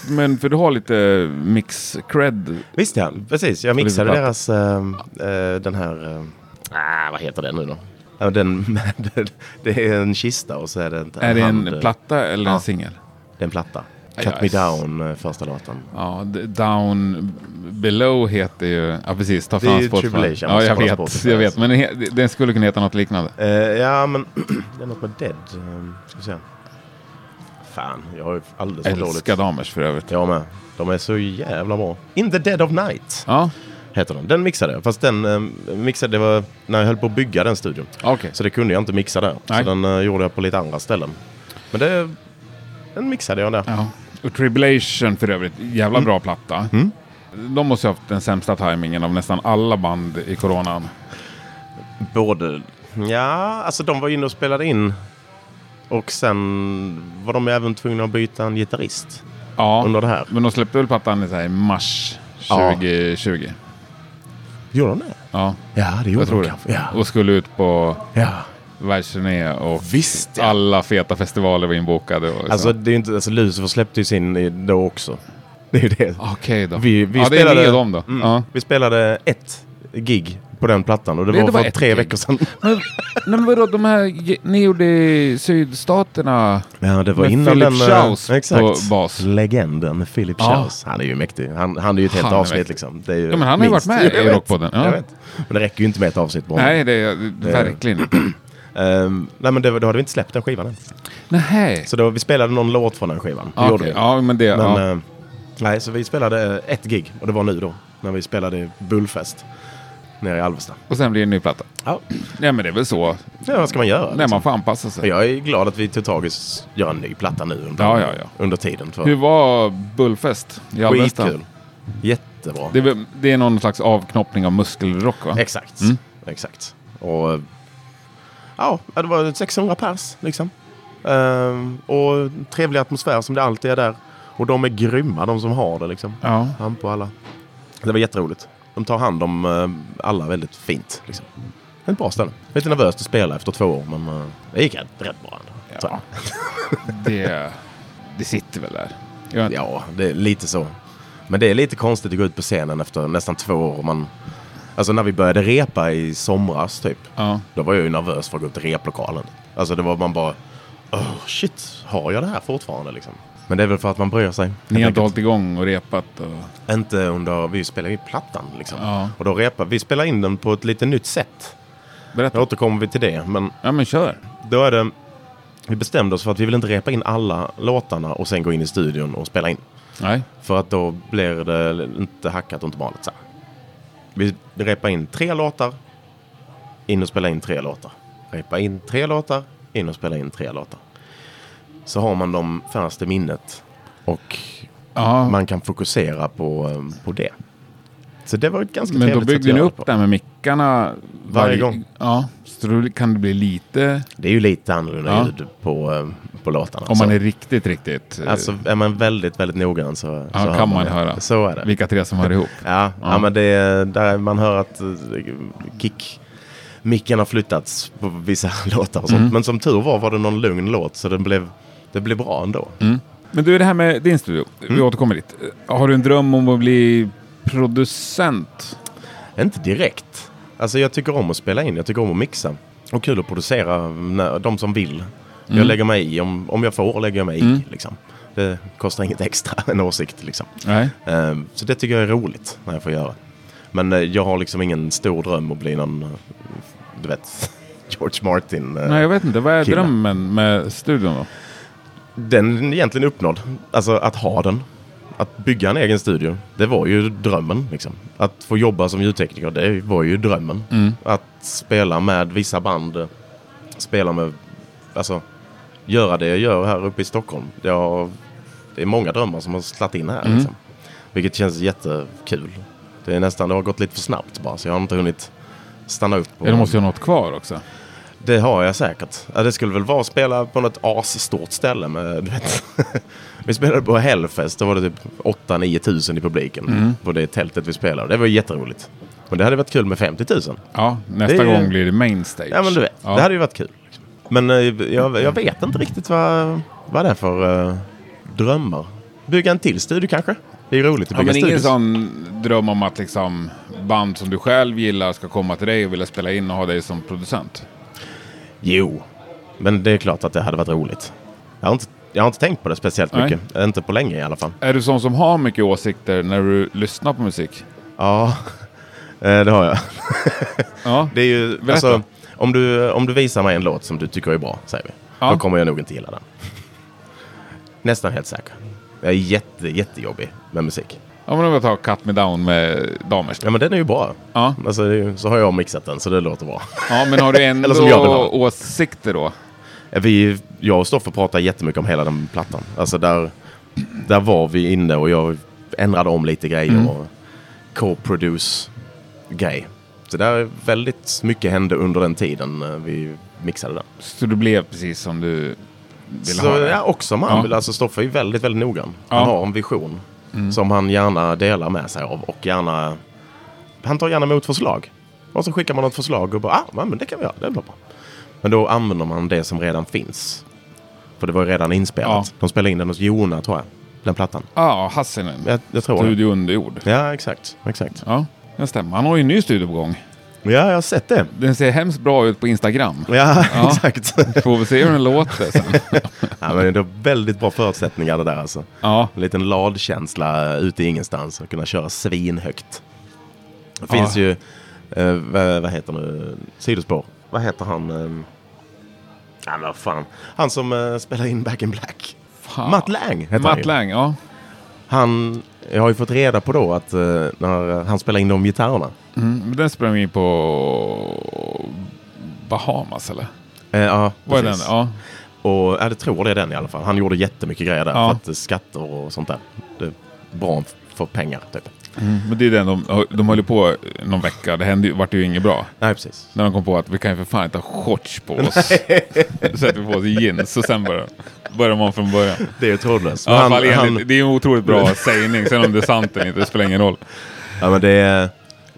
S2: men för du har lite mix-cred.
S1: Visst ja, precis. Jag mixade
S2: lite
S1: deras, ehm, eh, den här, ehm, ah, vad heter den nu då? Ja, Den *laughs* med, det är en kista och så är det en
S2: Är det
S1: hand,
S2: en platta eller
S1: Ja.
S2: en singel?
S1: Det är en platta.
S2: Aj,
S1: Cut
S2: aj.
S1: Me Down, eh, första låten.
S2: Ja, d- Down Below heter ju... Ja, precis. Ta
S1: Det är
S2: fram
S1: ju
S2: Spotify.
S1: Tribulation,
S2: Ja, jag
S1: alltså, på
S2: vet.
S1: Spotify.
S2: Jag vet. Men den he- den skulle kunna heta något liknande.
S1: Eh, ja, men *clears throat* det är något med Dead. ehm, ska vi se. Fan, jag har ju alldeles för dåligt.
S2: Älskar Damers för övrigt.
S1: Jag med. De är så jävla bra. In the Dead of Night
S2: Ja,
S1: heter den. Den mixade jag. Fast den ehm, mixade, det var när jag höll på att bygga den studion.
S2: okej.
S1: Så det kunde jag inte mixa där.
S2: Nej.
S1: Så den eh, gjorde jag på lite andra ställen. Men det, den mixade jag där.
S2: Ja. Och Tribulation för övrigt, jävla bra
S1: Mm.
S2: platta. De måste ha haft den sämsta tajmingen av nästan alla band i coronan.
S1: Både... Ja, alltså de var inne och spelade in. Och sen var de även tvungna att byta en gitarrist
S2: Ja,
S1: under det här.
S2: men de släppte väl plattan i så här i mars
S1: Ja.
S2: 2020.
S1: Gjorde de det?
S2: Ja,
S1: Ja, det gjorde
S2: jag tror
S1: de
S2: det.
S1: kanske. Ja.
S2: Och skulle ut på
S1: ja.
S2: världsturné och
S1: Visst ja.
S2: alla feta festivaler var inbokade. Och så.
S1: Alltså, det är ju inte, alltså Lucifer släppte ju sin i- då också. Det är ju det.
S2: Okej då.
S1: Vi, vi
S2: ja,
S1: spelade,
S2: det är ni och dem då.
S1: Mm,
S2: Ja.
S1: Vi spelade ett gig på den plattan och det,
S2: Nej,
S1: var,
S2: det var
S1: för
S2: ett
S1: tre
S2: gig.
S1: veckor
S2: *laughs*
S1: sedan.
S2: Men, nej men vadå, de här, ge- ni gjorde i sydstaterna.
S1: Ja, det var
S2: Med
S1: innan
S2: Philip
S1: den... eh,
S2: Schaus på
S1: exakt.
S2: bas.
S1: Legenden Philip
S2: Ja.
S1: Schaus. Han är ju mäktig. Han, han är ju ett helt
S2: Han är
S1: avsnitt
S2: mäktig.
S1: liksom. Det är ju
S2: Ja, men han har ju
S1: minst.
S2: varit med i
S1: Jag vet.
S2: Rockpodden, ja.
S1: Jag vet. Men det räcker ju inte med ett avsnitt bara.
S2: Nej, det är
S1: *clears throat*
S2: verkligen inte.
S1: Ehm, nej, men det, var- då hade vi inte släppt den skivan än.
S2: Nej.
S1: Så då, vi spelade någon låt från den skivan. Det
S2: Okej,
S1: gjorde vi.
S2: Ja, men det...
S1: Men,
S2: ja.
S1: eh, nej, så vi spelade eh, ett gig och det var nu då. När vi spelade Bullfest nere i Alvesta.
S2: Och sen blir det en ny platta.
S1: Ja,
S2: Nej men det är väl så.
S1: ja vad ska man göra?
S2: Nej,
S1: liksom?
S2: man får anpassa sig.
S1: Jag är glad att vi tog tag i att göra en ny platta nu under,
S2: Ja, ja, ja.
S1: under tiden. För
S2: Hur var Bullfest i Alvesta?
S1: Skitkul. Jättebra.
S2: Det, är väl- det är någon slags avknoppning av muskelrock va?
S1: Exakt. Exakt. Och eh, ja, det var 600 pers liksom. Ehm, och trevlig atmosfär som det alltid är där. Och de är grymma de som har det liksom.
S2: Ja.
S1: Han på alla. Det var jätteroligt. De tar hand om eh, alla väldigt fint. Liksom. Ett bra ställe. Lite nervöst att spela efter två år men eh, det gick rätt rätt bra. ändå, tror jag.
S2: Det, det sitter väl där. Jag vet inte.
S1: Ja, det är lite så. Men det är lite konstigt att gå ut på scenen efter nästan två år. och Man, alltså när vi började repa i somras typ.
S2: Ja.
S1: Då var jag ju nervös för att gå upp till replokalen. Alltså det var man bara... Oh, shit, har jag det här fortfarande liksom? Men det är väl för att man bryr sig.
S2: Ni
S1: helt
S2: har inte
S1: enkelt.
S2: hållit igång och repat och...
S1: Inte under... Vi spelade ju plattan liksom.
S2: Ja.
S1: Och då repade vi. spelade in den på ett lite nytt sätt. Nu
S2: Berätta.
S1: återkommer vi till det. Men
S2: Ja men kör.
S1: då är det... Vi bestämde oss för att vi vill inte repa in alla låtarna och sen gå in i studion och spela in.
S2: Nej.
S1: För att då blir det inte hackat och inte malet. Så här. Vi repar in tre låtar, in och spela in tre låtar. Repa in tre låtar, in och spela in tre låtar. Så har man dem färskt i minnet och
S2: Ja.
S1: man kan fokusera på, eh, på det. Så det var ett ganska
S2: men då
S1: trevligt sätt att
S2: byggde ni
S1: göra
S2: upp det här med mickarna.
S1: Varje gång.
S2: Ja. Så då kan det bli lite...
S1: Det är ju lite annorlunda
S2: Ja.
S1: ljud på, eh, på låtarna.
S2: Om man
S1: så,
S2: är riktigt, riktigt... eh,
S1: alltså, är man väldigt, väldigt noggrann så, så
S2: ja,
S1: hör
S2: kan man
S1: det.
S2: höra.
S1: Så är det.
S2: Vilka tre
S1: *laughs*
S2: som hör ihop.
S1: Ja, ja.
S2: Ja.
S1: men det är där man hör att eh, kick micken har flyttats på vissa *laughs* låtar och sånt. Men som tur var var det någon lugn låt så den blev, det blev bra ändå.
S2: Men du, det här med din studio.
S1: Mm.
S2: Vi återkommer dit. Har du en dröm om att bli producent?
S1: Inte direkt. Alltså jag tycker om att spela in, jag tycker om att mixa. Och kul att producera när, de som vill. Jag lägger mig i, om, om jag får lägger jag mig i. Liksom. Det kostar inget extra, *laughs* en åsikt liksom.
S2: Nej.
S1: Eh, Så det tycker jag är roligt när jag får göra. Men eh, jag har liksom ingen stor dröm att bli någon, eh, du vet, *laughs* George Martin. eh,
S2: Nej, jag vet inte. Vad är
S1: Kille.
S2: drömmen med studion då?
S1: Den är egentligen uppnådd. Alltså att ha den. Att bygga en egen studio. Det var ju drömmen. Liksom. Att få jobba som ljudtekniker, det var ju drömmen. Att spela med vissa band. eh, Spela med... Alltså, göra det jag gör här uppe i Stockholm. Jag, det är många drömmar som har slatt in här. Liksom. Vilket känns jättekul. Det är nästan... Det har gått lite för snabbt bara, så jag har inte hunnit stanna upp. och-
S2: Eller måste jag ha något kvar också?
S1: det har jag säkert. Ja, det skulle väl vara att spela på något asstort ställe. Med, du vet. *laughs* vi spelade på Hellfest, då var det typ 8-9 tusen i publiken
S2: Mm.
S1: på det tältet vi spelade. Det var ju jätteroligt. Men det hade varit kul med 50 000.
S2: Ja, nästa
S1: Det är-
S2: gång blir det main stage.
S1: Ja men du vet,
S2: Ja.
S1: det hade ju varit kul. liksom. Men eh, jag, jag vet inte riktigt vad, vad det är för eh, drömmar. Bygga en till studio kanske? Det är ju roligt att
S2: Ja,
S1: bygga
S2: men ingen
S1: studios.
S2: sån dröm om att liksom band som du själv gillar ska komma till dig och vilja spela in och ha dig som producent?
S1: Jo, men det är klart att det hade varit roligt. Jag har inte, jag har inte tänkt på det speciellt
S2: Nej.
S1: mycket. Inte på länge i alla fall.
S2: Är du sån som har mycket åsikter när du lyssnar på musik?
S1: Ja, *laughs* eh, det har jag.
S2: Ja.
S1: Det är ju,
S2: Berätta.
S1: alltså, om, du, om du visar mig en låt som du tycker är bra, säger vi,
S2: Ja.
S1: då kommer jag nog inte gilla den. Nästan helt säker. Jag är jätte, jättejobbig med musik.
S2: Ja, men om jag tar Cut Me Down med Damers.
S1: Ja, men den är ju bra.
S2: Ja.
S1: Alltså, det är, ju- så har jag mixat den, så det låter bra.
S2: ja,
S1: *laughs*
S2: men har du ändå
S1: Eller som jag vill ha.
S2: åsikter då?
S1: Vi, jag och Stoffe pratar jättemycket om hela den plattan. Alltså där, där var vi inne och jag ändrade om lite grejer
S2: Mm.
S1: och co-produce grej. Så där väldigt mycket hände under den tiden eh, vi mixade den.
S2: Så du blev precis som du ville
S1: Så,
S2: ha det?
S1: ja, också man
S2: Ja.
S1: vill. Alltså Stoffe är ju väldigt, väldigt noggrann. Han
S2: Ja. Mm.
S1: har en vision som han gärna delar med sig av och gärna... Han tar gärna emot förslag. Och så skickar man ett förslag och bara, ah, ja, men det kan vi göra, det blir bra. Men då använder man det som redan finns. För det var ju redan inspelat.
S2: Ja.
S1: De spelade in den hos Jona, tror jag. Den plattan.
S2: Ja, Hassinen.
S1: Jag, jag tror det.
S2: Studio under jord.
S1: Ja, exakt. exakt.
S2: Ja, det stämmer. Han har ju en ny studio på gång.
S1: Ja, jag har sett det.
S2: Den ser hemskt bra ut på
S1: *laughs*
S2: Instagram.
S1: Ja,
S2: Ja.
S1: exakt. *laughs*
S2: Får vi se hur den låter sen.
S1: ja, men det är väldigt bra förutsättningar det där alltså.
S2: Ja,
S1: En liten ladkänsla eh, ute i ingenstans och kunna köra svinhögt. Det finns
S2: Ja.
S1: ju, eh, vad, vad heter nu, sidospår. Vad heter han? Eh, ja, men vad fan. Han som eh, spelar in Back in Black.
S2: fan.
S1: Matt Lang heter han
S2: Matt
S1: ju.
S2: Lang, ja.
S1: Han, jag har ju fått reda på då att eh, när han spelar in de gitarrerna.
S2: Mm, men den sprang in på Bahamas eller?
S1: Eh, ja,
S2: Vad är den?
S1: precis.
S2: Ja.
S1: Och jag tror det är den i alla fall. Han gjorde jättemycket grejer där.
S2: Ja.
S1: För att eh, skatter och sånt där. Det är bra för pengar typ.
S2: Men det är den de, de höll ju på någon vecka. Det hände ju, vart ju inget bra.
S1: Nej, precis.
S2: När de kom på att vi kan ju för fan inte ha shorts på oss. *laughs* Sätter vi på oss jeans och sen börjar, börjar man från början.
S1: Det är ju trådlöst.
S2: Ja, i alla fall enligt- det är en otroligt bra sägning. Sen om det är sant eller inte, det spelar ingen roll.
S1: Ja, men det är,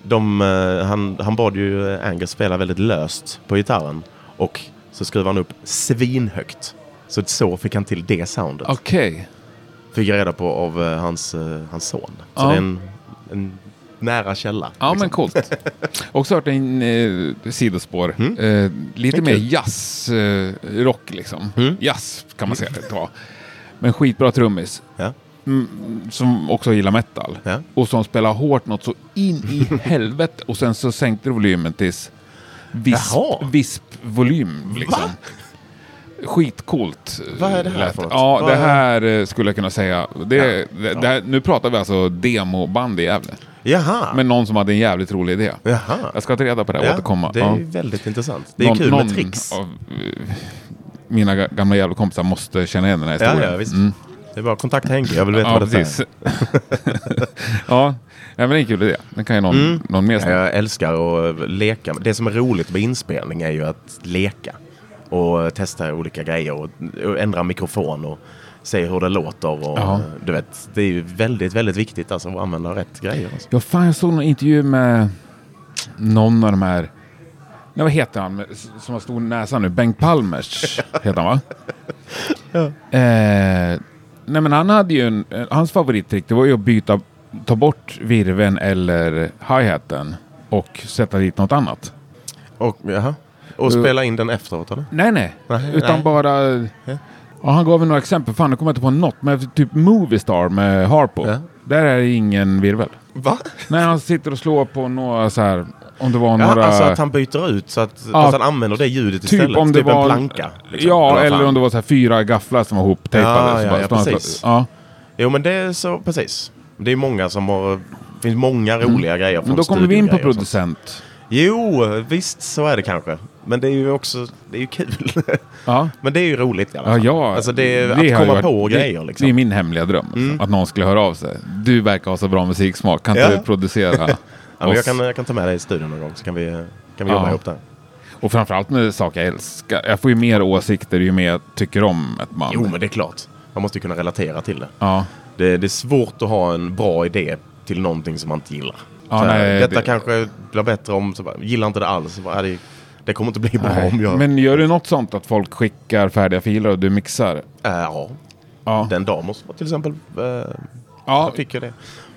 S1: de, eh, han, han bad ju Angus spela väldigt löst på gitarren. Och så skruvar han upp svinhögt. Så, så fick han till det soundet.
S2: Okej.
S1: Fick jag reda på av eh, hans, eh, hans son. Så
S2: Ja.
S1: det är en, en nära källa.
S2: Ja,
S1: liksom.
S2: men coolt. Också hört en eh, sidospår. Eh, lite mer jazz, eh, rock liksom. Jazz kan man säga att det var. Men skitbra trummis.
S1: Ja.
S2: som också gillar metal.
S1: Ja.
S2: Och som spelar hårt något så in
S1: *laughs*
S2: i helvete. Och sen så sänkte du volymen tills visp,
S1: Jaha.
S2: vispvolym. Liksom. Skitcoolt.
S1: Vad är det här
S2: lät.
S1: för något?
S2: Ja,
S1: Vad
S2: det
S1: är-
S2: här eh, skulle jag kunna säga. Det, det, det här, nu pratar vi alltså demoband i Gävle.
S1: Jaha.
S2: Men någon som hade en jävligt rolig idé.
S1: Jaha.
S2: Jag ska ta reda på det och
S1: Ja,
S2: återkomma.
S1: Det är
S2: Ja.
S1: ju väldigt intressant. Det är
S2: Någon-
S1: kul
S2: någon
S1: med tricks.
S2: Av, eh, mina ga- gamla jävla kompisar måste känna igen den här
S1: Ja,
S2: historien.
S1: ja,
S2: Mm.
S1: visst. Det är bara att kontakta Henke. Jag vill veta
S2: Ja,
S1: vad det är.
S2: precis. *laughs* ja, nej, men det är en kul idé. Den kan ju någon, någon
S1: Mm.
S2: mer
S1: Ja,
S2: snacka.
S1: Jag älskar att eh, leka. Det som är roligt med inspelning är ju att leka och testa olika grejer och och ändra mikrofon och se hur det låter. Och, eh,
S2: Ja.
S1: Du vet, det är ju väldigt, väldigt viktigt alltså, att använda rätt grejer. Alltså.
S2: Ja, fan, jag såg någon intervju med någon av de här... Nej, vad heter han med- som har stor näsa nu?
S1: *laughs*
S2: Bengt Palmers heter han, va? Eh, nej, men han hade ju en, eh, Hans favorittrick det var ju att byta, ta bort virven eller hi-haten och sätta dit något annat.
S1: Och, jaha. och spela in den efteråt eller?
S2: Nej, nej.
S1: Nej,
S2: Utan
S1: nej.
S2: bara...
S1: Ja.
S2: Ja, han gav väl några exempel. Fan, nu kommer jag inte på något. Men typ Moviestar med Harpo.
S1: Ja.
S2: Där är det ingen virvel.
S1: Va?
S2: Nej, han sitter och slår på några så här... Om det var
S1: Ja,
S2: några...
S1: Alltså att han byter ut så att,
S2: Ja,
S1: att han använder det ljudet istället.
S2: om det
S1: typ
S2: var-
S1: en planka. liksom.
S2: Ja,
S1: Eller vad
S2: eller
S1: fan.
S2: om det var så här fyra gafflar som var ihoptejpade.
S1: Ja,
S2: så
S1: ja,
S2: bara
S1: ja,
S2: står han så-
S1: precis.
S2: Ja.
S1: Jo men det är så, precis. Det är många som har... Det finns många roliga grejer från
S2: Mm. Men då kommer vi in på
S1: studiogrejer och sånt.
S2: producent.
S1: Jo, visst så är det kanske. Men det är ju också, det är ju kul. *laughs*
S2: Ja.
S1: Men det är ju roligt i alla
S2: Ja,
S1: fall.
S2: ja.
S1: alltså det är
S2: har
S1: att
S2: ju
S1: komma
S2: varit-
S1: på
S2: det,
S1: grejer liksom. Mm.
S2: Det är min hemliga dröm. alltså, Att någon skulle höra av sig. Du verkar ha så bra musiksmak. Kan inte
S1: Ja.
S2: du
S1: *laughs*
S2: producera?
S1: ja, men jag,
S2: oss?
S1: kan, jag kan ta med dig i studion någon gång så kan vi, kan vi
S2: Ja.
S1: jobba ihop där.
S2: Och framförallt med saker jag älskar. Jag får ju mer åsikter ju mer jag tycker om ett band.
S1: Jo, men det är klart. Man måste ju kunna relatera till det.
S2: Ja.
S1: det. Det är svårt att ha en bra idé till någonting som man inte gillar.
S2: Ja,
S1: så här,
S2: nej,
S1: detta
S2: det-
S1: kanske blir bättre om, så bara, gillar inte det alls. Så bara, "Ja, det, det kommer inte bli bra
S2: Nej.
S1: om jag...
S2: Men gör du något sånt att folk skickar färdiga filer och du mixar?
S1: Äh, ja.
S2: Ja.
S1: Den Damos var till exempel. Eh,
S2: Ja,
S1: jag fick ju det.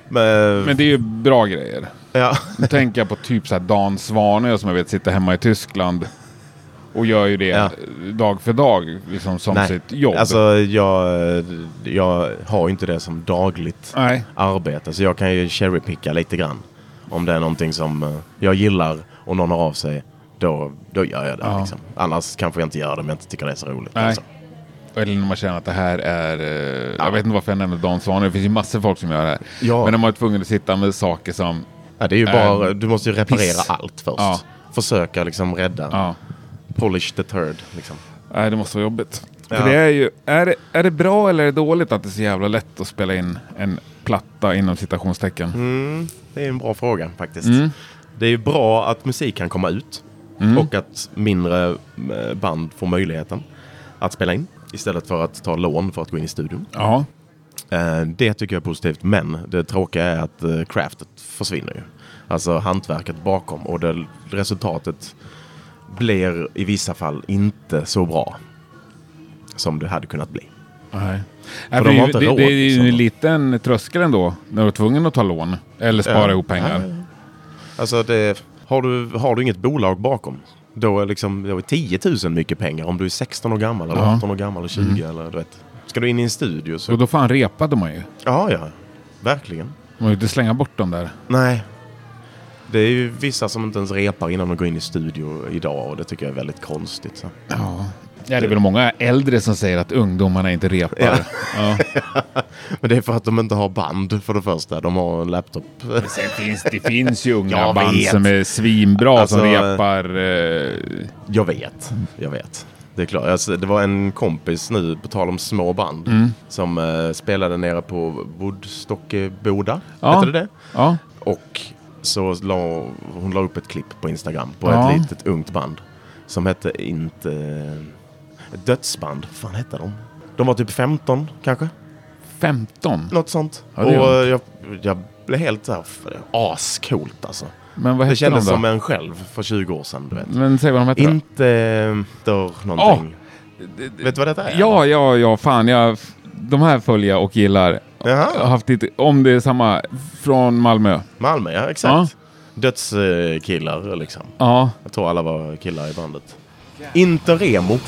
S1: Men,
S2: men det är ju bra grejer.
S1: ja. *laughs*
S2: Nu tänker jag på typ så här Dan Svanö som jag vet sitter hemma i Tyskland och gör ju det
S1: Ja.
S2: dag för dag liksom, som
S1: Nej.
S2: sitt jobb.
S1: Alltså jag, jag har ju inte det som dagligt
S2: Nej.
S1: arbete. Så jag kan ju cherrypicka lite grann. Om det är någonting som eh, jag gillar och någon har av sig. Då, då gör jag det.
S2: Ja.
S1: Liksom. Annars kanske jag inte gör det om jag inte tycker det är så roligt.
S2: Nej.
S1: Alltså.
S2: Eller när man känner att det här är... eh, Jag vet inte varför jag nämnde Dan Svanö. Det finns ju massor av folk som gör det här.
S1: Ja.
S2: Men de har varit tvungna att sitta med saker som...
S1: Ja, det är ju bara,
S2: Ähm,
S1: du måste ju reparera
S2: piss.
S1: allt först.
S2: Ja.
S1: Försöka liksom rädda.
S2: Ja.
S1: Polish the third. Liksom.
S2: Nej, det måste vara jobbigt.
S1: Ja.
S2: För det är ju... Är det, är det bra eller är det dåligt att det är så jävla lätt att spela in en platta inom citationstecken?
S1: Mm. Det är en bra fråga faktiskt. Det är ju bra att musik kan komma ut och att mindre eh, band får möjligheten att spela in istället för att ta lån för att gå in i studion.
S2: Ja.
S1: Eh, Det tycker jag är positivt, men det tråkiga är att eh, craftet försvinner ju. Alltså hantverket bakom och det, resultatet blir i vissa fall inte så bra som det hade kunnat bli.
S2: Nej. Nej,
S1: de
S2: för
S1: har
S2: det,
S1: inte
S2: det,
S1: råd,
S2: det är ju en
S1: liksom.
S2: liten tröskel ändå när du är tvungen att ta lån eller spara
S1: Ja.
S2: ihop pengar.
S1: Ja, ja, ja. Alltså det, har, du, har du inget bolag bakom, då är, liksom, då är 10 000 mycket pengar om du är 16 år gammal eller
S2: Ja.
S1: 18 år gammal eller 20 eller du vet. Ska du in i en studio så...
S2: Och då fan repade man ju.
S1: Ja, ja. Verkligen.
S2: Man vill inte slänga bort dem där.
S1: Nej. Det är ju vissa som inte ens repar innan de går in i studio idag och det tycker jag är väldigt konstigt. Så.
S2: Ja. det är väl många äldre som säger att ungdomarna inte repar. Ja.
S1: Ja. Men det är för att de inte har band för det första. De har en laptop.
S2: Sen finns, det finns ju unga
S1: Jag
S2: band
S1: vet.
S2: som är svinbra som
S1: Alltså, eh,
S2: repar. Eh,
S1: Jag vet, jag vet. Det är klart. Alltså, det var en kompis nu, på tal om små band,
S2: Mm.
S1: som eh, spelade nere på Woodstockeboda.
S2: Ja.
S1: Hette det det?
S2: ja.
S1: Och så la hon la upp ett klipp på Instagram på
S2: Ja.
S1: ett litet ungt band. Som hette inte... eh, Ett dödsband. Vad fan hette de? De var typ 15 kanske?
S2: 15.
S1: Något sånt.
S2: Ja, det
S1: och
S2: är
S1: eh, jag, jag blev helt så här, f- ascoolt alltså.
S2: Men vad
S1: Det
S2: hette de då?
S1: kändes som en själv för 20 år sedan. Du vet.
S2: Men säg vad de hette då.
S1: Inte dör någonting. Vet du vad detta är?
S2: Ah. Ja, ja, ja, fan. Jag, de här följer jag och gillar.
S1: Jaha.
S2: Jag har haft lite, om det är samma, från Malmö.
S1: Malmö, ja exakt. Dödskillar liksom.
S2: Ja.
S1: Jag tror alla var killar i bandet. Interemo.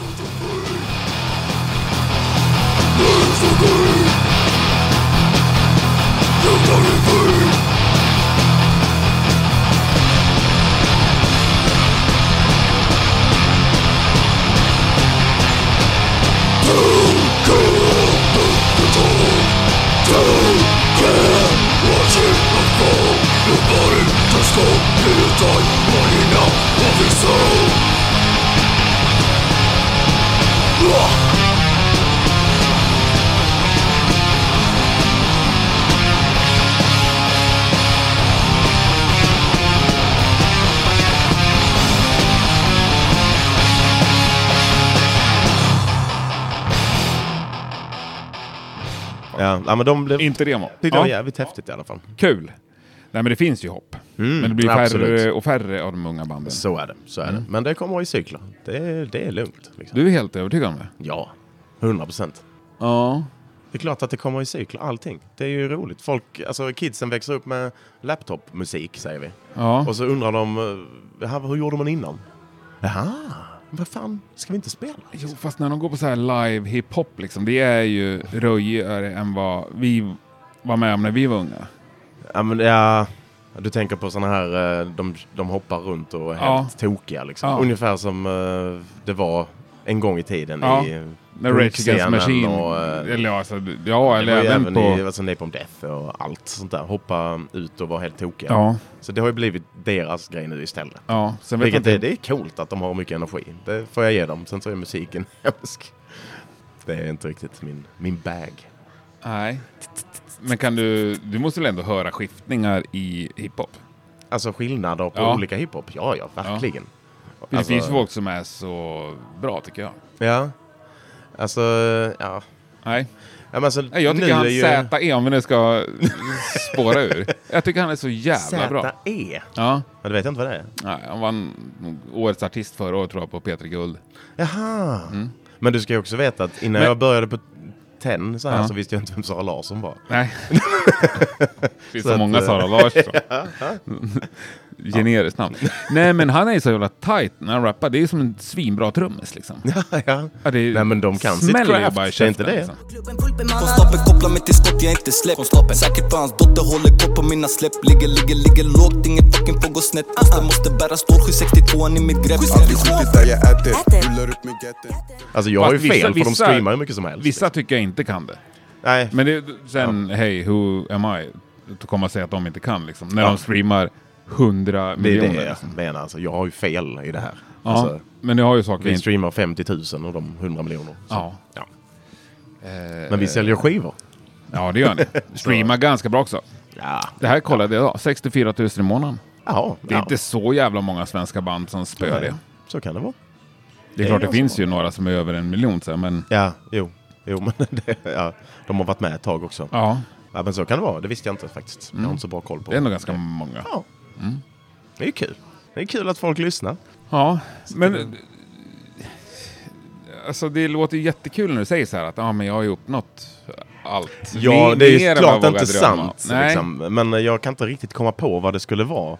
S1: Ja, ja men de blev...
S2: Inte Remo.
S1: Tyckte det var
S2: Ja,
S1: jävligt häftigt i alla fall.
S2: kul. Nej, men det finns ju hopp. men det blir färre
S1: Mm,
S2: Mm.
S1: absolut.
S2: och färre av de unga banden.
S1: Så är det. Så är det. Men det kommer i cykler. Det, det är lugnt. Liksom.
S2: Du är helt övertygad om det?
S1: Ja, 100 procent.
S2: Ja.
S1: Det är klart att det kommer i cykler, allting. Det är ju roligt. Folk, alltså kidsen växer upp med laptopmusik, säger vi.
S2: Ja.
S1: Och så undrar de, eh, "Jaha, hur gjorde man innan? Jaha, vad fan, ska vi inte spela?
S2: Jo, fast när de går på så här live hiphop, liksom, det är ju röjigare än vad vi var med om när vi var unga.
S1: Ja, men, ja, du tänker på sådana här, eh, de, de hoppar runt och är
S2: Ja.
S1: helt tokiga. Liksom.
S2: Ja.
S1: Ungefär som eh, det var en gång i tiden
S2: Ja.
S1: i eh,
S2: När Rage Against
S1: punkscenen
S2: Machine...
S1: Och, eh,
S2: eller ja, alltså, ja,
S1: det
S2: eller
S1: var ju
S2: även
S1: även
S2: på...
S1: i alltså, Napalm Death och allt sånt där. Hoppa ut och vara helt tokiga.
S2: Ja,
S1: Så det har ju blivit deras grej nu istället.
S2: ja. Sen vet jag
S1: Vilket
S2: inte...
S1: är, det är coolt att de har mycket energi. Det får jag ge dem. Sen så är musiken *laughs* hemsk. Det är inte riktigt min, min bag.
S2: Nej. Men kan du... Du måste väl ändå höra skiftningar i hiphop?
S1: Alltså skillnader på
S2: Ja.
S1: olika hiphop. Ja, ja, verkligen.
S2: För Det
S1: Alltså-
S2: finns ju folk som är så bra, tycker jag.
S1: Ja. Alltså, ja.
S2: Nej.
S1: ja men alltså,
S2: Nej, Jag tycker
S1: nu
S2: han
S1: är ju-
S2: ZE, om vi nu ska spåra ur. Jag tycker han är så jävla bra.
S1: Z-E.
S2: Ja.
S1: E. Ja, det vet jag inte vad det är.
S2: Nej, han vann årets artist förra året tror jag på P3 Guld.
S1: Jaha. Men du ska ju också veta att innan
S2: Mm. Men-
S1: jag började på 10 så här
S2: Ja.
S1: så visste jag inte vem Sara Larsson var. *laughs*
S2: *laughs* Nej. Det finns så,
S1: Så att,
S2: många
S1: eh,
S2: Sara Larsson.
S1: *laughs*
S2: Generiskt namn. Nej, men han är ju så jävla tight när han rappar. Det är som en svinbra trummis liksom.
S1: ja.
S2: Ja, det är-
S1: Nej men de kan sitt
S2: smäller ju
S1: craft,
S2: bara i
S1: det är inte
S2: käften,
S1: det?
S2: liksom.
S5: Klubben full bemannad Konstapeln kopplar mig till skott, jag är inte släppt Säkert på hans dotter, håller koll på mina släpp Ligger, ligger, ligger lågt, inget fucking får gå snett Måste, måste bära stål, 762an i mitt grepp
S6: Alltid skitigt där jag äter, rullar upp med getter
S1: Alltså jag har ju
S2: Fast
S1: fel
S2: vissa-
S1: för de
S2: vissa-
S1: streamar hur mycket som helst. liksom.
S2: Vissa tycker jag inte kan det.
S1: Nej,
S2: Men det, sen, hej, who am I? Att komma och säga att de inte kan liksom. När de streamar 100
S1: det är
S2: miljoner.
S1: det jag
S2: liksom.
S1: menar. Alltså, jag har ju fel i det här.
S2: Ja,
S1: Alltså,
S2: men jag har ju saker jag
S1: vi
S2: inte-
S1: streamar 50 000 och de 100 miljoner. Så,
S2: Ja. Eh,
S1: Men vi säljer skivor.
S2: Ja, det
S1: *laughs*
S2: gör ni. Streamar ganska bra också.
S1: Ja.
S2: Det här kollade jag idag. 64 000 i månaden.
S1: Jaha,
S2: Det är inte så jävla många svenska band som spöar det.
S1: Så kan det vara.
S2: Det är klart det finns ju några som är över en miljon så här, men
S1: Ja, jo. Jo, men *laughs* det, ja, de har varit med ett tag också. Ja.
S2: ja, Mm.
S1: men så kan det vara. Det visste jag inte faktiskt. Jag har inte så bra koll på
S2: det är ändå ganska många.
S1: Ja. Det är ju kul. Det är kul att folk lyssnar.
S2: Ja, men... Alltså det låter ju jättekul när du säger så här att ah, men jag har ju uppnått allt.
S1: Ja,
S2: Mer-
S1: det är
S2: mer
S1: ju
S2: än vad jag
S1: klart
S2: vågar
S1: inte
S2: drömma om.
S1: sant.
S2: Nej.
S1: Liksom. Men eh, jag kan inte riktigt komma på vad det skulle vara.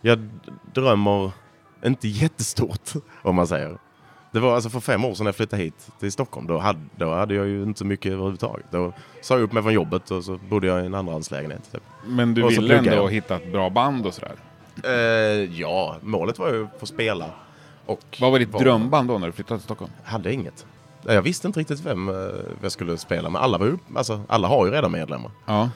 S1: Jag d- drömmer inte jättestort, *laughs* om man säger. Det var alltså för fem år sedan jag flyttade hit till Stockholm. Då hade, då hade jag ju inte så mycket överhuvudtaget. Då sa jag upp mig från jobbet och så bodde jag i en andrahandslägenhet. Typ.
S2: Men du
S1: Och så
S2: ville ändå
S1: pluggar jag.
S2: hitta ett bra band och sådär.
S1: Eh, ja, målet var ju att få spela. Och
S2: Vad var ditt
S1: var-
S2: drömband då när du flyttade till Stockholm?
S1: hade inget. Jag visste inte riktigt vem eh, jag skulle spela med. Alla, var ju, alltså, alla har ju redan medlemmar.
S2: Ja,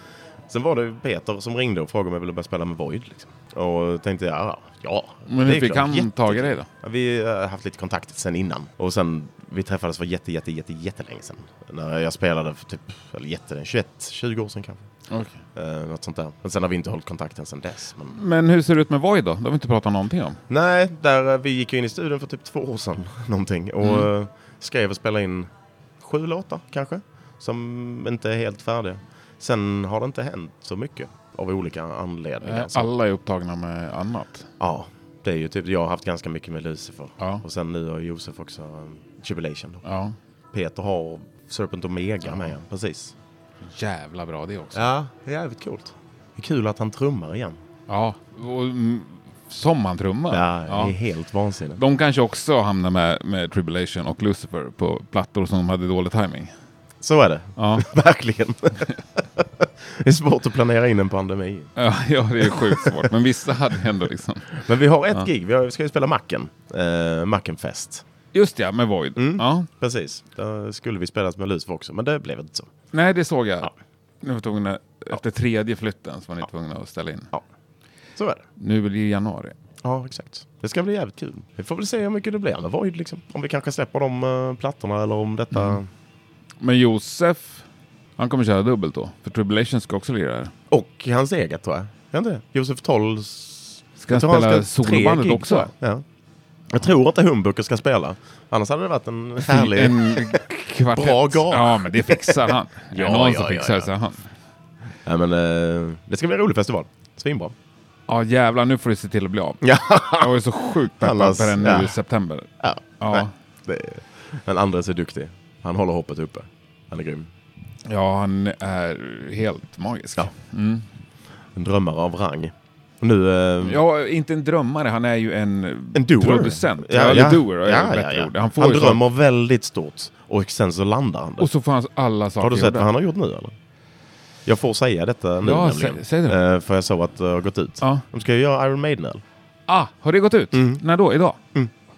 S1: Sen var det Peter som ringde och frågade om jag ville börja spela med Void. Liksom. Och tänkte jag, ja, ja.
S2: men
S1: det
S2: hur
S1: är
S2: fick
S1: klart.
S2: han
S1: Jätte-
S2: tag i dig då?
S1: Ja, Vi har haft lite kontakt sen innan. Och sen, vi träffades för jätte, jätte, jätte, jättelänge sedan. När jag spelade för typ, eller jätte, 21, 20 år sedan kanske.
S2: Okej.
S1: Eh, något sånt där. Men sen har vi inte hållit kontakten sedan dess. Men...
S2: Men hur ser det ut med Void då? De har vi inte pratat någonting om.
S1: Nej, där, eh, vi gick ju in i studion för typ två år sedan *laughs* någonting. Och
S2: Mm.
S1: eh, skrev och spelade in sju låtar kanske. Som inte är helt färdiga. Sen har det inte hänt så mycket. Av olika anledningar. Så-
S2: Alla är upptagna med annat.
S1: Ja, det är ju typ, jag har haft ganska mycket med Lucifer.
S2: Ja.
S1: Och sen nu har Josef också um, Jubilation. Då.
S2: Ja.
S1: Peter har Serpent Omega med, precis.
S2: Jävla bra det också.
S1: Ja, det är jävligt coolt. Det är kul att han trummar igen.
S2: Ja. Och, mm, som han trummar.
S1: Ja, det är
S2: Ja.
S1: helt vansinnigt.
S2: De kanske också hamnar med, med Tribulation och Lucifer på plattor som hade dålig timing.
S1: Så är det. *laughs*
S2: Ja,
S1: Verkligen. det är svårt att planera in en pandemi.
S2: ja, *laughs* ja det är sjukt svårt. Men vissa hade ändå liksom...
S1: Men vi har ett gig. Vi, har, vi ska ju spela Macken. Uh, Macken Fest.
S2: Just ja, med Void.
S1: Mm.
S2: Ja.
S1: Precis. Där skulle vi spelat med Lucifer också, men det blev inte så.
S2: Nej, det såg jag. Nu var tvungna, efter tredje flytten så var ni tvungna att ställa in.
S1: Ja. Så är det.
S2: Nu blir det ju januari.
S1: Ja, exakt. Det ska bli jävligt kul. Vi får väl se hur mycket det blir med Void liksom. Om vi kanske släpper de uh, plattorna eller om detta...
S2: Mm. Men Josef, han kommer köra dubbelt då. För Tribulation ska också lira här.
S1: Och hans eget tror jag. Är inte det? Josef Tolls...
S2: Ska han
S1: jag tror
S2: spela
S1: ska tre
S2: solobandet
S1: gig,
S2: också?
S1: tror jag. Ja. Jag tror inte Humbucker ska spela. Annars hade det varit en härlig...
S2: En kvartett.
S1: Bra gal.
S2: Ja, men det
S1: *laughs*
S2: fixar han. ja,
S1: Ja,
S2: någon
S1: ja,
S2: som
S1: ja,
S2: fixar det
S1: ja.
S2: så är han.
S1: Ja, men, eh, det ska bli en rolig festival. Svinbra.
S2: Ja, jävlar, nu får du se till att bli av.
S1: *laughs* Ja.
S2: Jag är så sjukt peppad
S1: Annars-
S2: på den nu
S1: ja.
S2: i september.
S1: ja.
S2: Ja.
S1: Nej, det är... Men Andres är duktig. Han håller hoppet uppe. Han är grym.
S2: Ja, han är helt magisk. Ja.
S1: Ja. En drömmare av rang. Och nu... eh,
S2: inte en drömmare, han är ju en,
S1: En doer.
S2: producent. Ja, eller doer, är ett bättre ord. Han,
S1: Han,
S2: får ju så-
S1: drömmer väldigt stort och sen så landar han där.
S2: Och så får han alla saker
S1: Har du sett
S2: gjorda.
S1: vad han har gjort nu eller? Jag får säga detta nu
S2: Ja,
S1: nämligen.
S2: sä- säg det.
S1: Eh, För jag såg att det har gått ut.
S2: Ja.
S1: De ska ju göra Iron Maiden öl.
S2: Ah, har det gått ut?
S1: Mm.
S2: När då? Idag?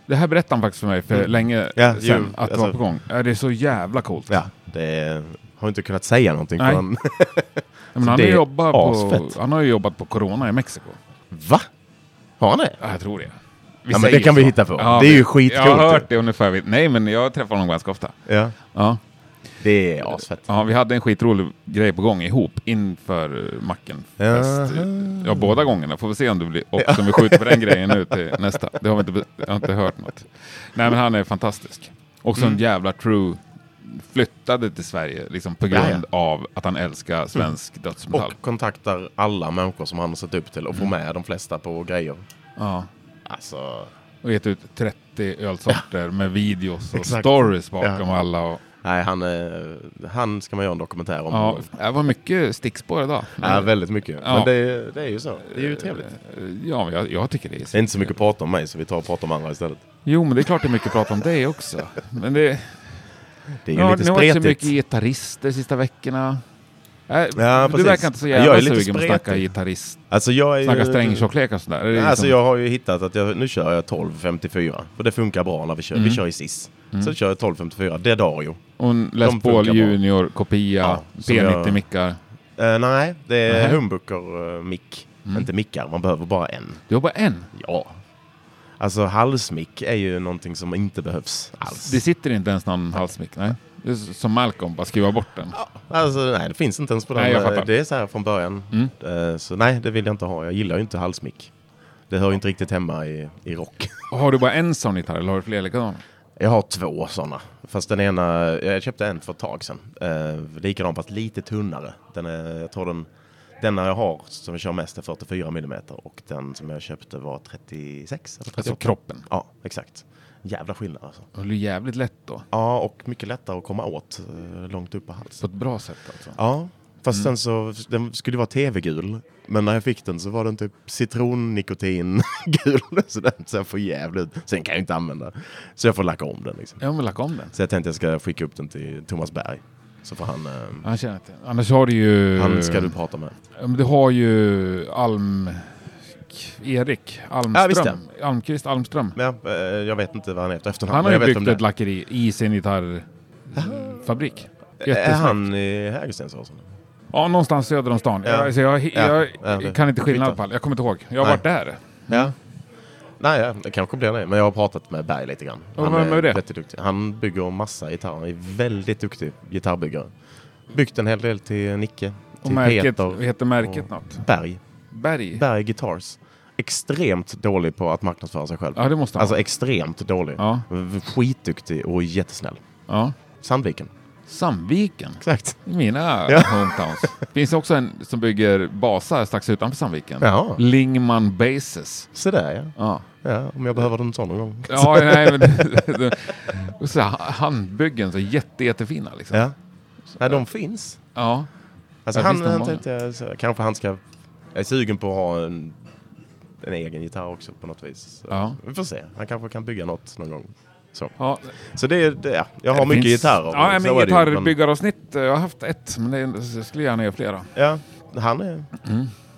S2: Det här berättade han faktiskt för mig för länge
S1: Ja,
S2: sedan,
S1: ju,
S2: att det var
S1: alltså-
S2: på gång. Ja, det är så jävla coolt.
S1: Ja, det är- har inte kunnat säga någonting
S2: Nej.
S1: för han...
S2: Men han,
S1: det
S2: har
S1: är
S2: jobbat på,
S1: asfett.
S2: han har ju jobbat på Corona i Mexiko.
S1: *laughs* Va? Har han det?
S2: Ja, jag tror det. Vi
S1: Ja, men
S2: säger
S1: det kan vi
S2: så.
S1: hitta på. Det är ju skitcoolt
S2: Jag har
S1: ju.
S2: hört det ungefär. vid- Nej, men jag träffar honom ganska ofta.
S1: Ja.
S2: Ja.
S1: Det är asfett.
S2: Ja, vi hade en skitrolig grej på gång ihop inför eh, macken. Fest. Ja, båda gångerna. Får vi se om det blir också, om vi skjuter på den grejen nu till nästa. Det har vi inte, jag har inte hört något. Nej, men han är fantastisk. Också
S1: Mm.
S2: en jävla true. Flyttade till Sverige liksom, på grund
S1: Ja, ja.
S2: av att han älskar svensk dödsmetall.
S1: Och kontaktar alla människor som han har sett upp till och får
S2: Mm.
S1: med de flesta på grejer.
S2: Ja.
S1: Alltså...
S2: Och gett ut 30 ölsorter med videos och
S1: Exakt.
S2: stories bakom
S1: Ja.
S2: alla. Och,
S1: Nej, han, eh, han ska man göra en dokumentär om.
S2: Ja, det var mycket stickspår idag.
S1: Ja, väldigt mycket.
S2: Ja.
S1: Men det, det är ju så. Det är ju trevligt.
S2: eh, Ja, jag, jag tycker det är
S1: Det är inte så mycket att prata om mig, så vi tar och pratar om andra istället.
S2: Jo, men det är klart det är mycket att prata om dig också. Men det,
S1: Det är ju
S2: nu har
S1: lite
S2: nu har det varit så
S1: spretigt.
S2: mycket gitarrister sista veckorna. Nej,
S1: Ja,
S2: du
S1: precis.
S2: verkar inte så
S1: Jag
S2: jävla
S1: är lite
S2: sugen på att snacka
S1: spretig.
S2: gitarrist,
S1: Alltså jag är
S2: snacka
S1: ju...
S2: strängtjocklek och sådär. Det är
S1: Nej, Alltså
S2: liksom-
S1: jag har ju hittat att jag, nu kör jag 12.54. För det funkar bra när vi kör.
S2: Mm.
S1: Vi kör i SIS. Så kör jag 12.54. Det är Dario.
S2: Och en Les
S1: de funkar
S2: Paul
S1: bra.
S2: Junior, kopia,
S1: Ja, som jag-
S2: P90-mickar.
S1: Eh, nej, det är
S2: Nej.
S1: humbucker, eh, mick.
S2: Mm.
S1: Inte mickar, man behöver bara en.
S2: Du har bara en.
S1: Ja. Alltså halsmick är ju någonting som inte behövs alls.
S2: Det sitter inte ens någon halsmick, nej. Det är som Malcolm, bara skruva bort den.
S1: Alltså nej, det finns inte ens på den.
S2: Nej, jag fattar. Mm.
S1: eh, det är så här från början. Eh, så nej, det vill jag inte ha. Jag gillar ju inte halsmick. Det hör ju inte riktigt hemma i, i rock. *laughs*
S2: Och Har du bara en sån gitarr eller har du fler likadana?
S1: Jag har två sådana. Fast den ena, jag köpte en för ett tag sedan. Eh, likadan fast lite tunnare. Den är, jag tror den, denna jag har som jag kör mest är 44 mm och den som jag köpte var 36 eller 38.
S2: Alltså kroppen.
S1: Ja, exakt. Jävla skillnad alltså.
S2: Och det är jävligt lätt då.
S1: Ja, och mycket lättare att komma åt eh, långt upp på
S2: På
S1: halsen.
S2: ett bra sätt alltså.
S1: Ja, fast sen så, den skulle vara tv-gul. Men när jag fick den så var den typ citronnikotingul. *laughs* Så den ser för jävligt ut. Sen kan jag inte använda. Så jag får lacka om den liksom.
S2: Jag vill lacka om den.
S1: Så jag tänkte jag ska skicka upp den till Thomas Berg. Så får han... Eh,
S2: Han känner inte. Annars har du ju...
S1: han ska du prata med.
S2: Ja, men Du har ju Alm... Erik
S1: Ja, visst
S2: Almström. Almqvist Almström.
S1: Men jag, eh, jag vet inte vad han heter efternamn.
S2: Han har
S1: men
S2: ju
S1: jag vet vem
S2: byggt
S1: det är.
S2: ett lackeri i sin gitarrfabrik.
S1: Är
S2: Jättesnyggt.
S1: han i Hägerstensåsen?
S2: Ja, någonstans söder om stan.
S1: Ja.
S2: Alltså, jag jag
S1: Ja, det-
S2: kan inte skillnad
S1: skitsamma.
S2: på alla. Jag kommer inte ihåg. Jag har
S1: Nej.
S2: varit där.
S1: Ja. Nej, ja, det kanske blir det. Men jag har pratat med Berg lite grann.
S2: Och vem är det?
S1: väldigt duktig. Han bygger massa gitarrer. Han är väldigt duktig gitarrbyggare. Byggt en hel del till Nicke,
S2: Och
S1: till
S2: märket,
S1: Peter,
S2: heter märket
S1: och-
S2: något?
S1: Berg.
S2: Berg?
S1: Typ Mm. Berg Guitars. Extremt dålig på att marknadsföra sig själv.
S2: Ja, det måste han
S1: Alltså
S2: vara.
S1: extremt dålig.
S2: Ja.
S1: Skitduktig och jättesnäll.
S2: Ja.
S1: Sandviken.
S2: Sandviken.
S1: Exakt.
S2: Mina
S1: Ja.
S2: hometowns. Finns det också en som bygger basar strax utanför Sandviken?
S1: Jaha.
S2: Lingman Bases.
S1: Så där ja.
S2: Ja.
S1: ja. Om jag behöver en sån någon gång.
S2: Ja, nej, men och så här, handbyggen så jätte, jättefina liksom.
S1: Ja. Nej, de finns.
S2: Ja.
S1: Alltså
S2: Ja,
S1: han,
S2: visst, de
S1: han
S2: har
S1: tänkte jag, så, kanske han ska... Jag är sugen på att ha en, en egen gitarr också på något vis. Så,
S2: Ja.
S1: Vi får se. Han kanske kan bygga något någon gång. Så,
S2: ja.
S1: så det är det. Ja. Jag har
S2: Det
S1: mycket
S2: finns-
S1: gitarrer.
S2: Ja,
S1: så
S2: men
S1: är det ju,
S2: gitarrbyggaravsnitt. eh, Jag har haft ett, men det jag skulle gärna göra flera.
S1: Men, ja, han är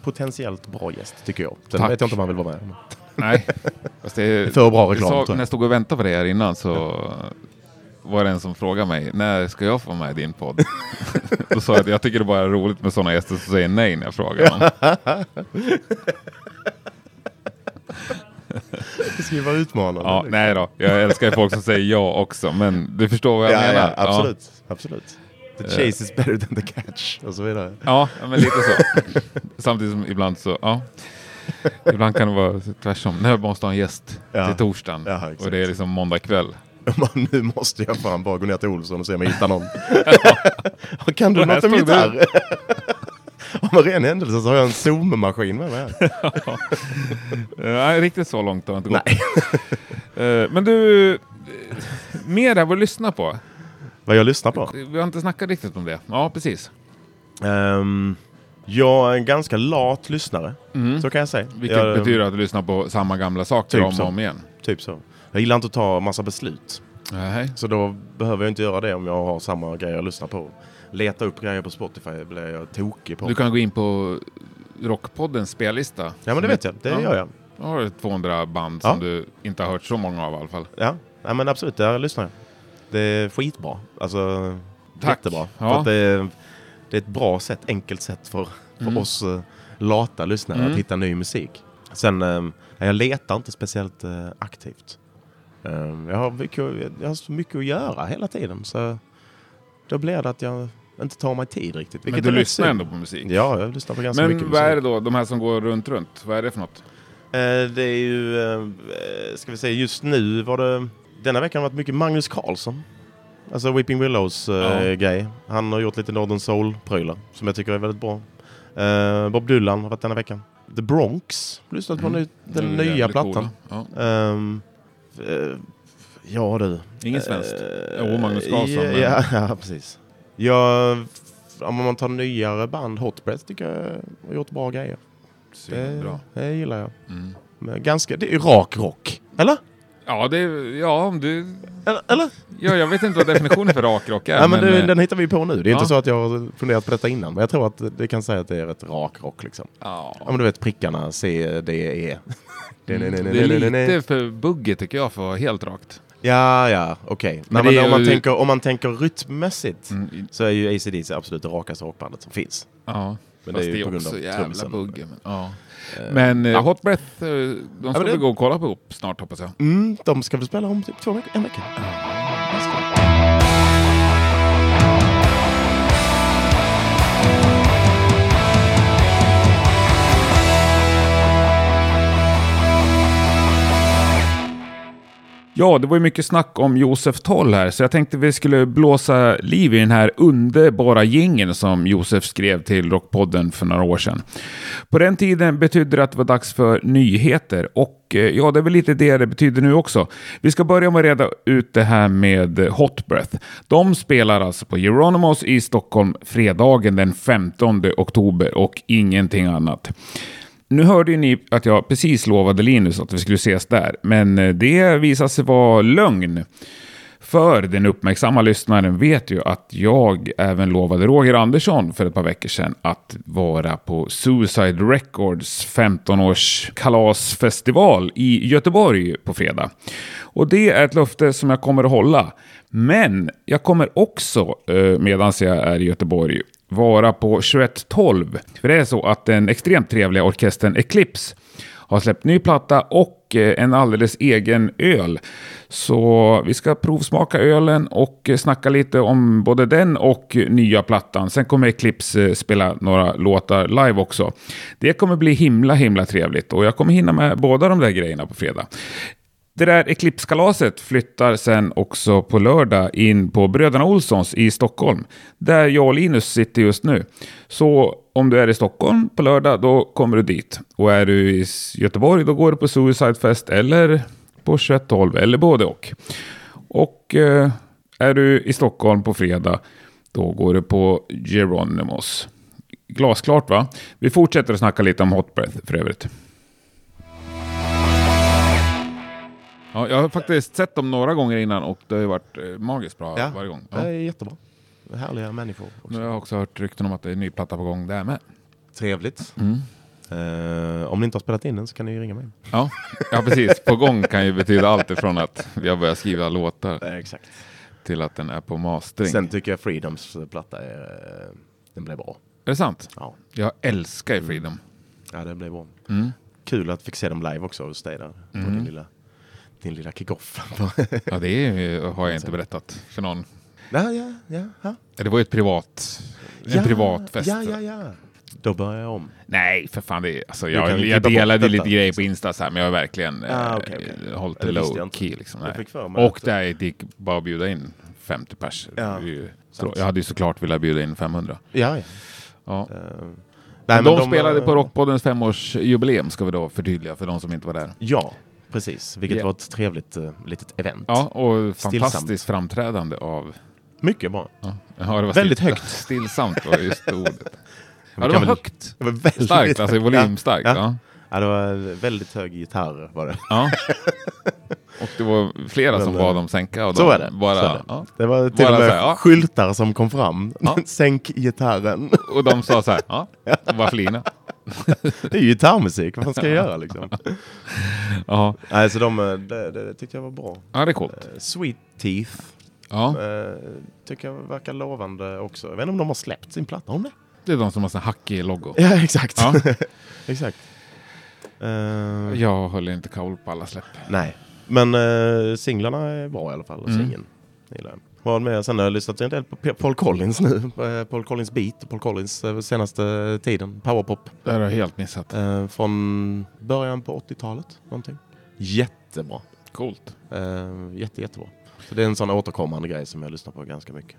S1: potentiellt bra gäst tycker jag. Sen
S2: Mm. Tack.
S1: vet jag inte om han vill vara med. Men- *laughs*
S2: Nej. Fast det,
S1: För bra reklam,
S2: jag sa-
S1: tror jag.
S2: När jag stod och väntade på det här innan så var det en som frågade mig när ska jag få vara med i din podd? *laughs* Då sa jag att jag tycker det bara är roligt med sådana gäster som säger nej när jag frågar dem.
S1: Det ska ju vara utmanande.
S2: Ja, nej då, jag älskar ju folk som säger ja också, men du förstår vad jag
S1: ja,
S2: menar. Eh.
S1: ja, absolut. absolut. The chase is better than the catch. Och så vidare.
S2: Ja, ja, men lite så. *laughs* Samtidigt som ibland så, ja. Ibland kan det vara tvärtom. Nu måste jag ha en gäst
S1: Ja.
S2: till torsdagen
S1: Ja, exakt.
S2: och det är liksom måndag kväll.
S1: Man, nu måste jag fan bara gå ner till Olsson och se om jag hittar
S2: *laughs*
S1: någon. *laughs* Och kan du
S2: Och här
S1: något om
S2: står du.
S1: gitarr? Om en ren händelse så har jag en Zoom-maskin med mig
S2: *laughs*
S1: här.
S2: Eh, Nej, riktigt så långt har det inte gått. Eh, Men du, eh, mer än vad du lyssnar på.
S1: Vad jag lyssnar på?
S2: Vi har inte snackat riktigt om det. Ja, precis.
S1: Ehm, jag är en ganska lat lyssnare, så kan jag säga.
S2: Mm. Vilket
S1: jag,
S2: betyder att du lyssnar på samma gamla saker
S1: Typ
S2: om
S1: så.
S2: och om igen.
S1: Typ så. Jag gillar inte att ta massa beslut.
S2: Nej.
S1: Så då behöver jag inte göra det om jag har samma grejer jag lyssnar på. Leta upp grejer på Spotify blir jag tokig på.
S2: Du kan gå in på Rockpoddens spellista.
S1: Ja men det vet jag, det
S2: Ja.
S1: gör jag.
S2: Då har du 200 band
S1: Ja.
S2: som du inte har hört så många av i alla fall.
S1: Ja, ja men absolut, där lyssnar jag. Det är skitbra. Alltså,
S2: Tack.
S1: jättebra.
S2: Ja.
S1: För att det, är, det är ett bra sätt, enkelt sätt för, för
S2: Mm.
S1: oss eh, lata lyssnare att hitta ny musik. Sen, eh, jag letar inte speciellt eh, aktivt. Eh, jag, har mycket, jag har så mycket att göra hela tiden, så då blir det att jag inte tar mig tid riktigt.
S2: Men
S1: vilket
S2: du
S1: är rätt
S2: lyssnar
S1: synd.
S2: ändå på musik.
S1: Ja, jag lyssnar på ganska mycket
S2: Men
S1: musik.
S2: vad är det då, de här som går runt, runt? Vad är det för något?
S1: Eh, Det är ju, eh, ska vi säga just nu var det, denna veckan har det varit mycket Magnus Carlsson. Alltså Weeping Willows eh,
S2: Ja.
S1: grej. Han har gjort lite Northern Soul-prylar som jag tycker är väldigt bra. Eh, Bob Dylan har varit denna veckan. The Mm. Bronx, lyssnat på ny, den
S2: är
S1: nya
S2: Mm, jävligt
S1: plattan.
S2: coola. Ja.
S1: Ehm, f- eh, Ja du.
S7: Ingen svenskt?
S1: Eh,
S2: Jo, Magnus Karlsson,
S1: Ja,
S2: men-
S1: ja, *laughs* ja precis. Jag, om man tar nyare band, Hot Press tycker jag har gjort bra grejer.
S2: Svinbra.
S1: Det, det gillar jag. Men ganska, det är rak rock. Eller?
S2: Mm. Ja, det, ja, om du...
S1: Eller? eller?
S2: Ja, jag vet inte vad definitionen för rakrock är.
S1: Ja, men det,
S2: eh,
S1: den hittar vi på nu. Det är
S2: ja.
S1: inte så att jag har funderat på detta innan. Men jag tror att det kan säga att det är rätt rak rock liksom. Ja
S2: ja. Mm,
S1: men du vet prickarna, C, D, *laughs*
S2: *laughs*
S1: E.
S2: Det är lite för buggigt tycker jag för att vara helt rakt.
S1: Ja, ja, okej.
S2: Men
S1: Nej, Men
S2: det är
S1: om, man
S2: ju-
S1: tänker- om man tänker rytmmässigt
S2: Mm.
S1: så är ju ACDC absolut det rakaste rockbandet som finns.
S2: Ja.
S1: Men
S2: Fast
S1: det är ju på grund
S2: också
S1: av
S2: jävla
S1: trummisen.
S2: bugg. Men, ja. men eh, Hot Breath, eh, de ska
S1: men
S2: vi
S1: det-
S2: gå och kolla på ihop snart hoppas jag.
S1: Mm, de ska vi spela om typ två veckor, en vecka.
S2: Ja, det var ju mycket snack om Josef Toll här, så jag tänkte vi skulle blåsa liv i den här underbara jingeln som Josef skrev till Rockpodden för några år sedan. På den tiden betydde det att det var dags för nyheter och eh, ja, det är väl lite det det betyder nu också. Vi ska börja med att reda ut det här med eh, Hot Breath. De spelar alltså på Geronimos i Stockholm fredagen den 15 oktober och ingenting annat. Nu hörde ju ni att jag precis lovade Linus att vi skulle ses där, men eh, det visade sig vara lögn. För den uppmärksamma lyssnaren vet ju att jag även lovade Roger Andersson för ett par veckor sedan att vara på Suicide Records 15-års kalasfestival i Göteborg på fredag. Och det är ett löfte som jag kommer att hålla. Men jag kommer också, eh, medan jag är i Göteborg, vara på 2112. För det är så att den extremt trevliga orkestern Eclipse har släppt ny platta och eh, en alldeles egen öl. Så vi ska provsmaka ölen och eh, snacka lite om både den och eh, nya plattan. Sen kommer Eclipse eh, spela några låtar live också. Det kommer bli himla, himla trevligt och jag kommer hinna med båda de där grejerna på fredag. Det där Eclipse-kalaset flyttar sen också på lördag in på Bröderna Olssons i Stockholm, där jag och Linus sitter just nu. Så om du är i Stockholm på lördag, då kommer du dit. Och är du i S- Göteborg, då går du på Suicide Fest eller på 2112, eller både och. Och eh, är du i Stockholm på fredag, då går du på Geronimos. Glasklart va? Vi fortsätter att snacka lite om Hot Breath för övrigt. Ja, jag har faktiskt sett dem några gånger innan och det har ju varit eh, magiskt bra
S1: Ja.
S2: varje gång.
S1: Det är jättebra. Härliga människor.
S2: Nu
S1: Också.
S2: har jag också hört rykten om att det är en ny platta på gång där med.
S1: Trevligt.
S2: Mm.
S1: Eh, om ni inte har spelat in den så kan ni ju ringa mig.
S2: Ja, ja precis. På gång kan ju betyda allt ifrån att jag börjar skriva låtar
S1: Eh, exakt.
S2: till att den är på mastering.
S1: Sen tycker jag Freedoms platta är, eh, den blev bra.
S2: Är det sant?
S1: Ja,
S2: Jag älskar ju Freedom.
S1: ja den blev bra.
S2: Mm.
S1: Kul att fick se dem live också hos dig där. På din lilla, din lilla kick-off. *laughs*
S2: Ja, det är, ju- har jag inte berättat för någon.
S1: ja, ja, ja, ja.
S2: Det var ju ett privat, en
S1: ja,
S2: privat fest.
S1: Ja, ja, ja. Då börjar jag om.
S2: Nej, för fan. Det, är- alltså, jag
S1: kan ju
S2: jag
S1: klippa bort
S2: delade
S1: detta, liksom.
S2: lite grejer på Insta så här, men jag har verkligen
S1: Ah, okej, okej.
S2: eh, hållit
S1: Ja,
S2: det
S1: det visste jag
S2: low
S1: inte.
S2: key. Liksom,
S1: Jag
S2: nej.
S1: fick för mig
S2: och
S1: att-
S2: där det gick bara att bjuda in 50 pers. Det
S1: Ja,
S2: är ju,
S1: sant.
S2: jag hade ju såklart velat bjuda in 500.
S1: Ja, ja.
S2: Ja.
S1: Eh,
S2: Men
S1: nej,
S2: de, spelade
S1: eh,
S2: på Rockpoddens femårsjubileum ska vi då förtydliga för de som inte var där.
S1: Ja, precis. Vilket
S2: Ja.
S1: var ett trevligt eh, litet event.
S2: Ja, och
S1: Stillsamt.
S2: fantastiskt framträdande av...
S1: Mycket bra.
S2: Ja, ja, det var
S1: Väldigt högt.
S2: *laughs* Stillsamt var just
S1: *laughs*
S2: det ordet. Ja,
S1: kan
S2: det var
S1: väl-
S2: högt.
S1: Det var väldigt
S2: Starkt, alltså volymstarkt.
S1: Ja.
S2: Ja.
S1: Ja, det var väldigt hög gitarr var det. *laughs*
S2: Ja. Och det var flera som
S1: Men, eh,
S2: bad om sänka. Och
S1: Så
S2: de
S1: är det.
S2: Bara,
S1: så är det.
S2: Ja.
S1: det var till
S2: Bara
S1: och med
S2: så här, ja.
S1: skyltar som kom fram.
S2: Ja.
S1: *laughs* Sänk gitarren. *laughs*
S2: Och de sa så här, ja, och bara flina.
S1: Det är ju gitarrmusik, vad fan
S2: *laughs*
S1: ska jag göra liksom?
S2: Ja,
S1: Nej, så de, eh, det, det, det tyckte jag var bra.
S2: ja det är coolt.
S1: Eh, Sweet Teeth
S2: Ja,
S1: eh, tycker jag verkar lovande också. Jag vet inte om de har släppt sin platta, om det?
S2: det är de som har sån här hackig logo.
S1: Ja, exakt.
S2: Ja.
S1: *laughs* exakt. Eh,
S2: Jag höll inte koll på alla släpp.
S1: Nej, men eh, singlarna är bra i alla fall. Singeln. Jag gillar den. Vad med, sen har jag lyssnat en del på P- Paul Collins nu. Eh, Paul Collins Beat, Paul Collins eh, senaste tiden. Powerpop.
S2: Det här har jag helt missat.
S1: Eh, från början på 80-talet. Någonting. Jättebra.
S2: Coolt.
S1: Eh, jätte, jättebra. Så det är en sån återkommande grej som jag lyssnar på ganska mycket.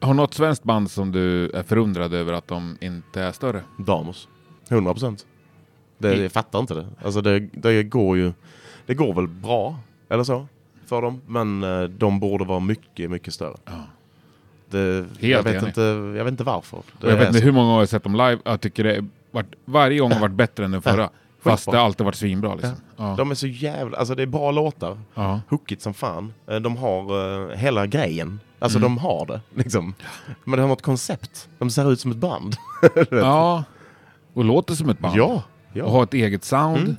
S2: Har något svenskt band som du är förundrad över att de inte är större?
S1: Damos. 100 procent. Det, jag fattar inte det. Alltså det, det går ju... Det går väl bra, eller så? för dem, men eh, de borde vara mycket, mycket större. Det, jag, vet
S2: enig.
S1: inte, jag vet inte varför. Det
S2: Och jag
S1: är
S2: vet inte
S1: så.
S2: hur många gånger jag sett dem live. Jag tycker det varit, varje gång har varit bättre än den förra. Fast det har alltid varit svinbra liksom. Ja.
S1: De är så jävla... Alltså det är bra låtar.
S2: Ja.
S1: Hookigt som fan. Eh, De har eh, hela grejen. Alltså
S2: Mm.
S1: de har det, *laughs* liksom. Men de har ett koncept. De ser ut som ett band.
S2: ja. Och låter som ett band.
S1: Ja.
S2: Och
S1: ja. Mm.
S2: har ett eget sound.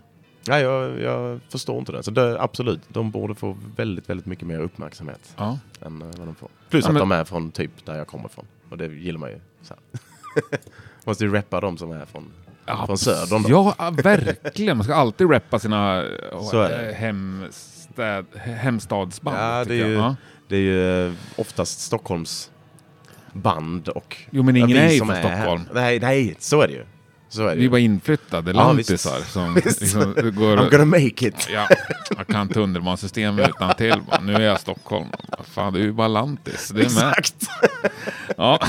S1: Nej, jag, jag förstår inte det. Så det, absolut, de borde få väldigt, väldigt mycket mer uppmärksamhet
S2: Ja.
S1: än eh, vad de får. Plus
S2: Ja,
S1: att
S2: men-
S1: de är från typ där jag kommer från. Och det gillar man ju. Så här. *laughs* Måste ju rappa de som är från, från södern. då.
S2: Ja, ja, verkligen. Man ska alltid rappa sina eh,
S1: Så är det.
S2: hemstäd, hemstadsband.
S1: Ja, det
S2: tycker
S1: är, ju,
S2: jag. Ja.
S1: det är ju eh, oftast Stockholms band och...
S2: Jo, men ingen
S1: vi
S2: är ju
S1: som
S2: från
S1: här.
S2: Stockholm.
S1: Nej, nej, så är det ju. Så är det
S2: Vi är
S1: ju.
S2: bara inflyttade
S1: Ja,
S2: lantisar
S1: visst.
S2: som
S1: *laughs* Visst.
S2: liksom går...
S1: I'm gonna make it.
S2: Ja, jag kan tunnelbanesystemet utan till. Nu är jag i Stockholm. Fan, du är ju bara lantis. Det är med.
S1: Exakt.
S2: Ja. *laughs*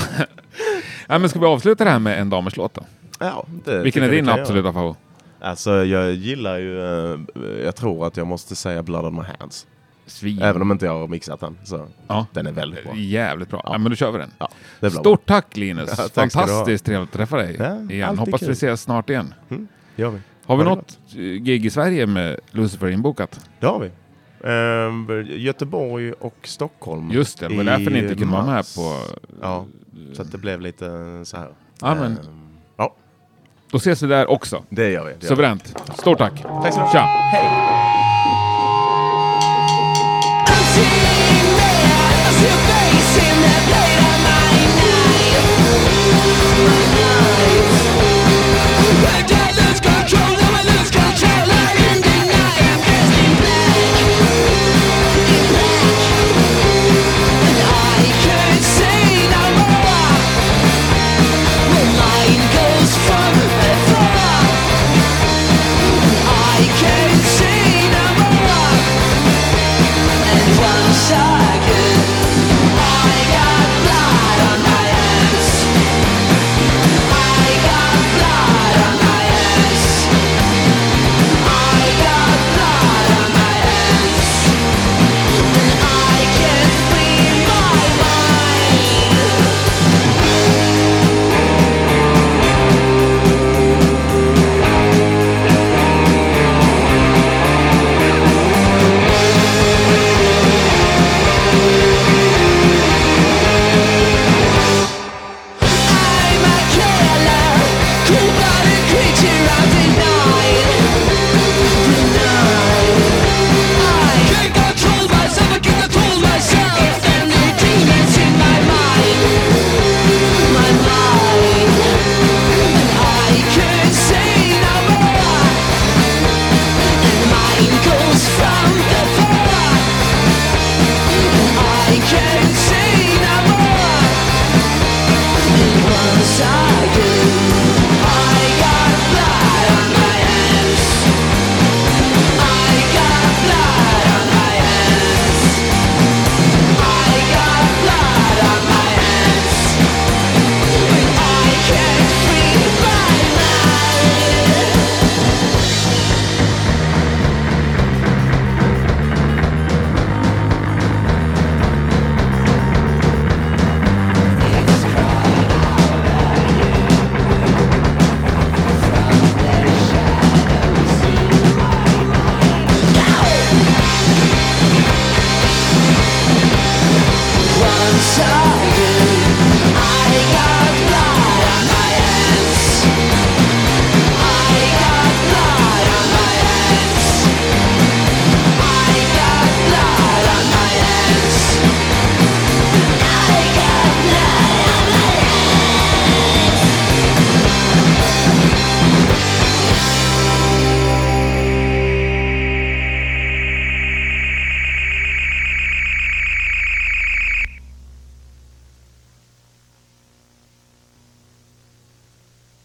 S2: Nej, men ska vi avsluta det här med en damers låt då?
S1: Ja, det
S2: Vilken
S1: tycker
S2: är
S1: jag vi
S2: din
S1: kan
S2: absoluta favorit?
S1: göra. Alltså, jag gillar ju... eh, jag tror att jag måste säga Blood on my hands.
S2: Svin.
S1: Även om inte jag har mixat den. Så
S2: Ja.
S1: den är väldigt bra.
S2: Jävligt bra. Ja. men då kör vi den.
S1: Ja, det blir
S2: Stort tack Linus!
S1: Ja, tack ska du ha.
S2: Fantastiskt trevligt att träffa dig
S1: Ja,
S2: igen.
S1: alltid
S2: Hoppas vi
S1: kul.
S2: ses snart igen.
S1: bra. Gör vi.
S2: Har vi
S1: Ha det
S2: något eh, gig i Sverige med Lucifer inbokat?
S1: Det har vi. Ehm, Göteborg och Stockholm.
S2: Just det, det var därför ni inte
S1: i
S2: kunde vara med
S1: mars.
S2: på...
S1: Ja, så att det blev lite så här.
S2: Ja, men-
S1: Ehm, ja,
S2: Då ses vi där också.
S1: det gör vi. Det gör vi.
S2: Suveränt. Stort tack!
S1: Tack så mycket.
S2: Tja!
S7: Second, I got blood on my hands. I got blood on my hands. I got blood on my hands. And I can't free my mind. I'm a killer, cold-blooded creature I deny, I can't control myself, I can't control myself. And the demons in my mind, my mind. I can't say no more, and mine goes from the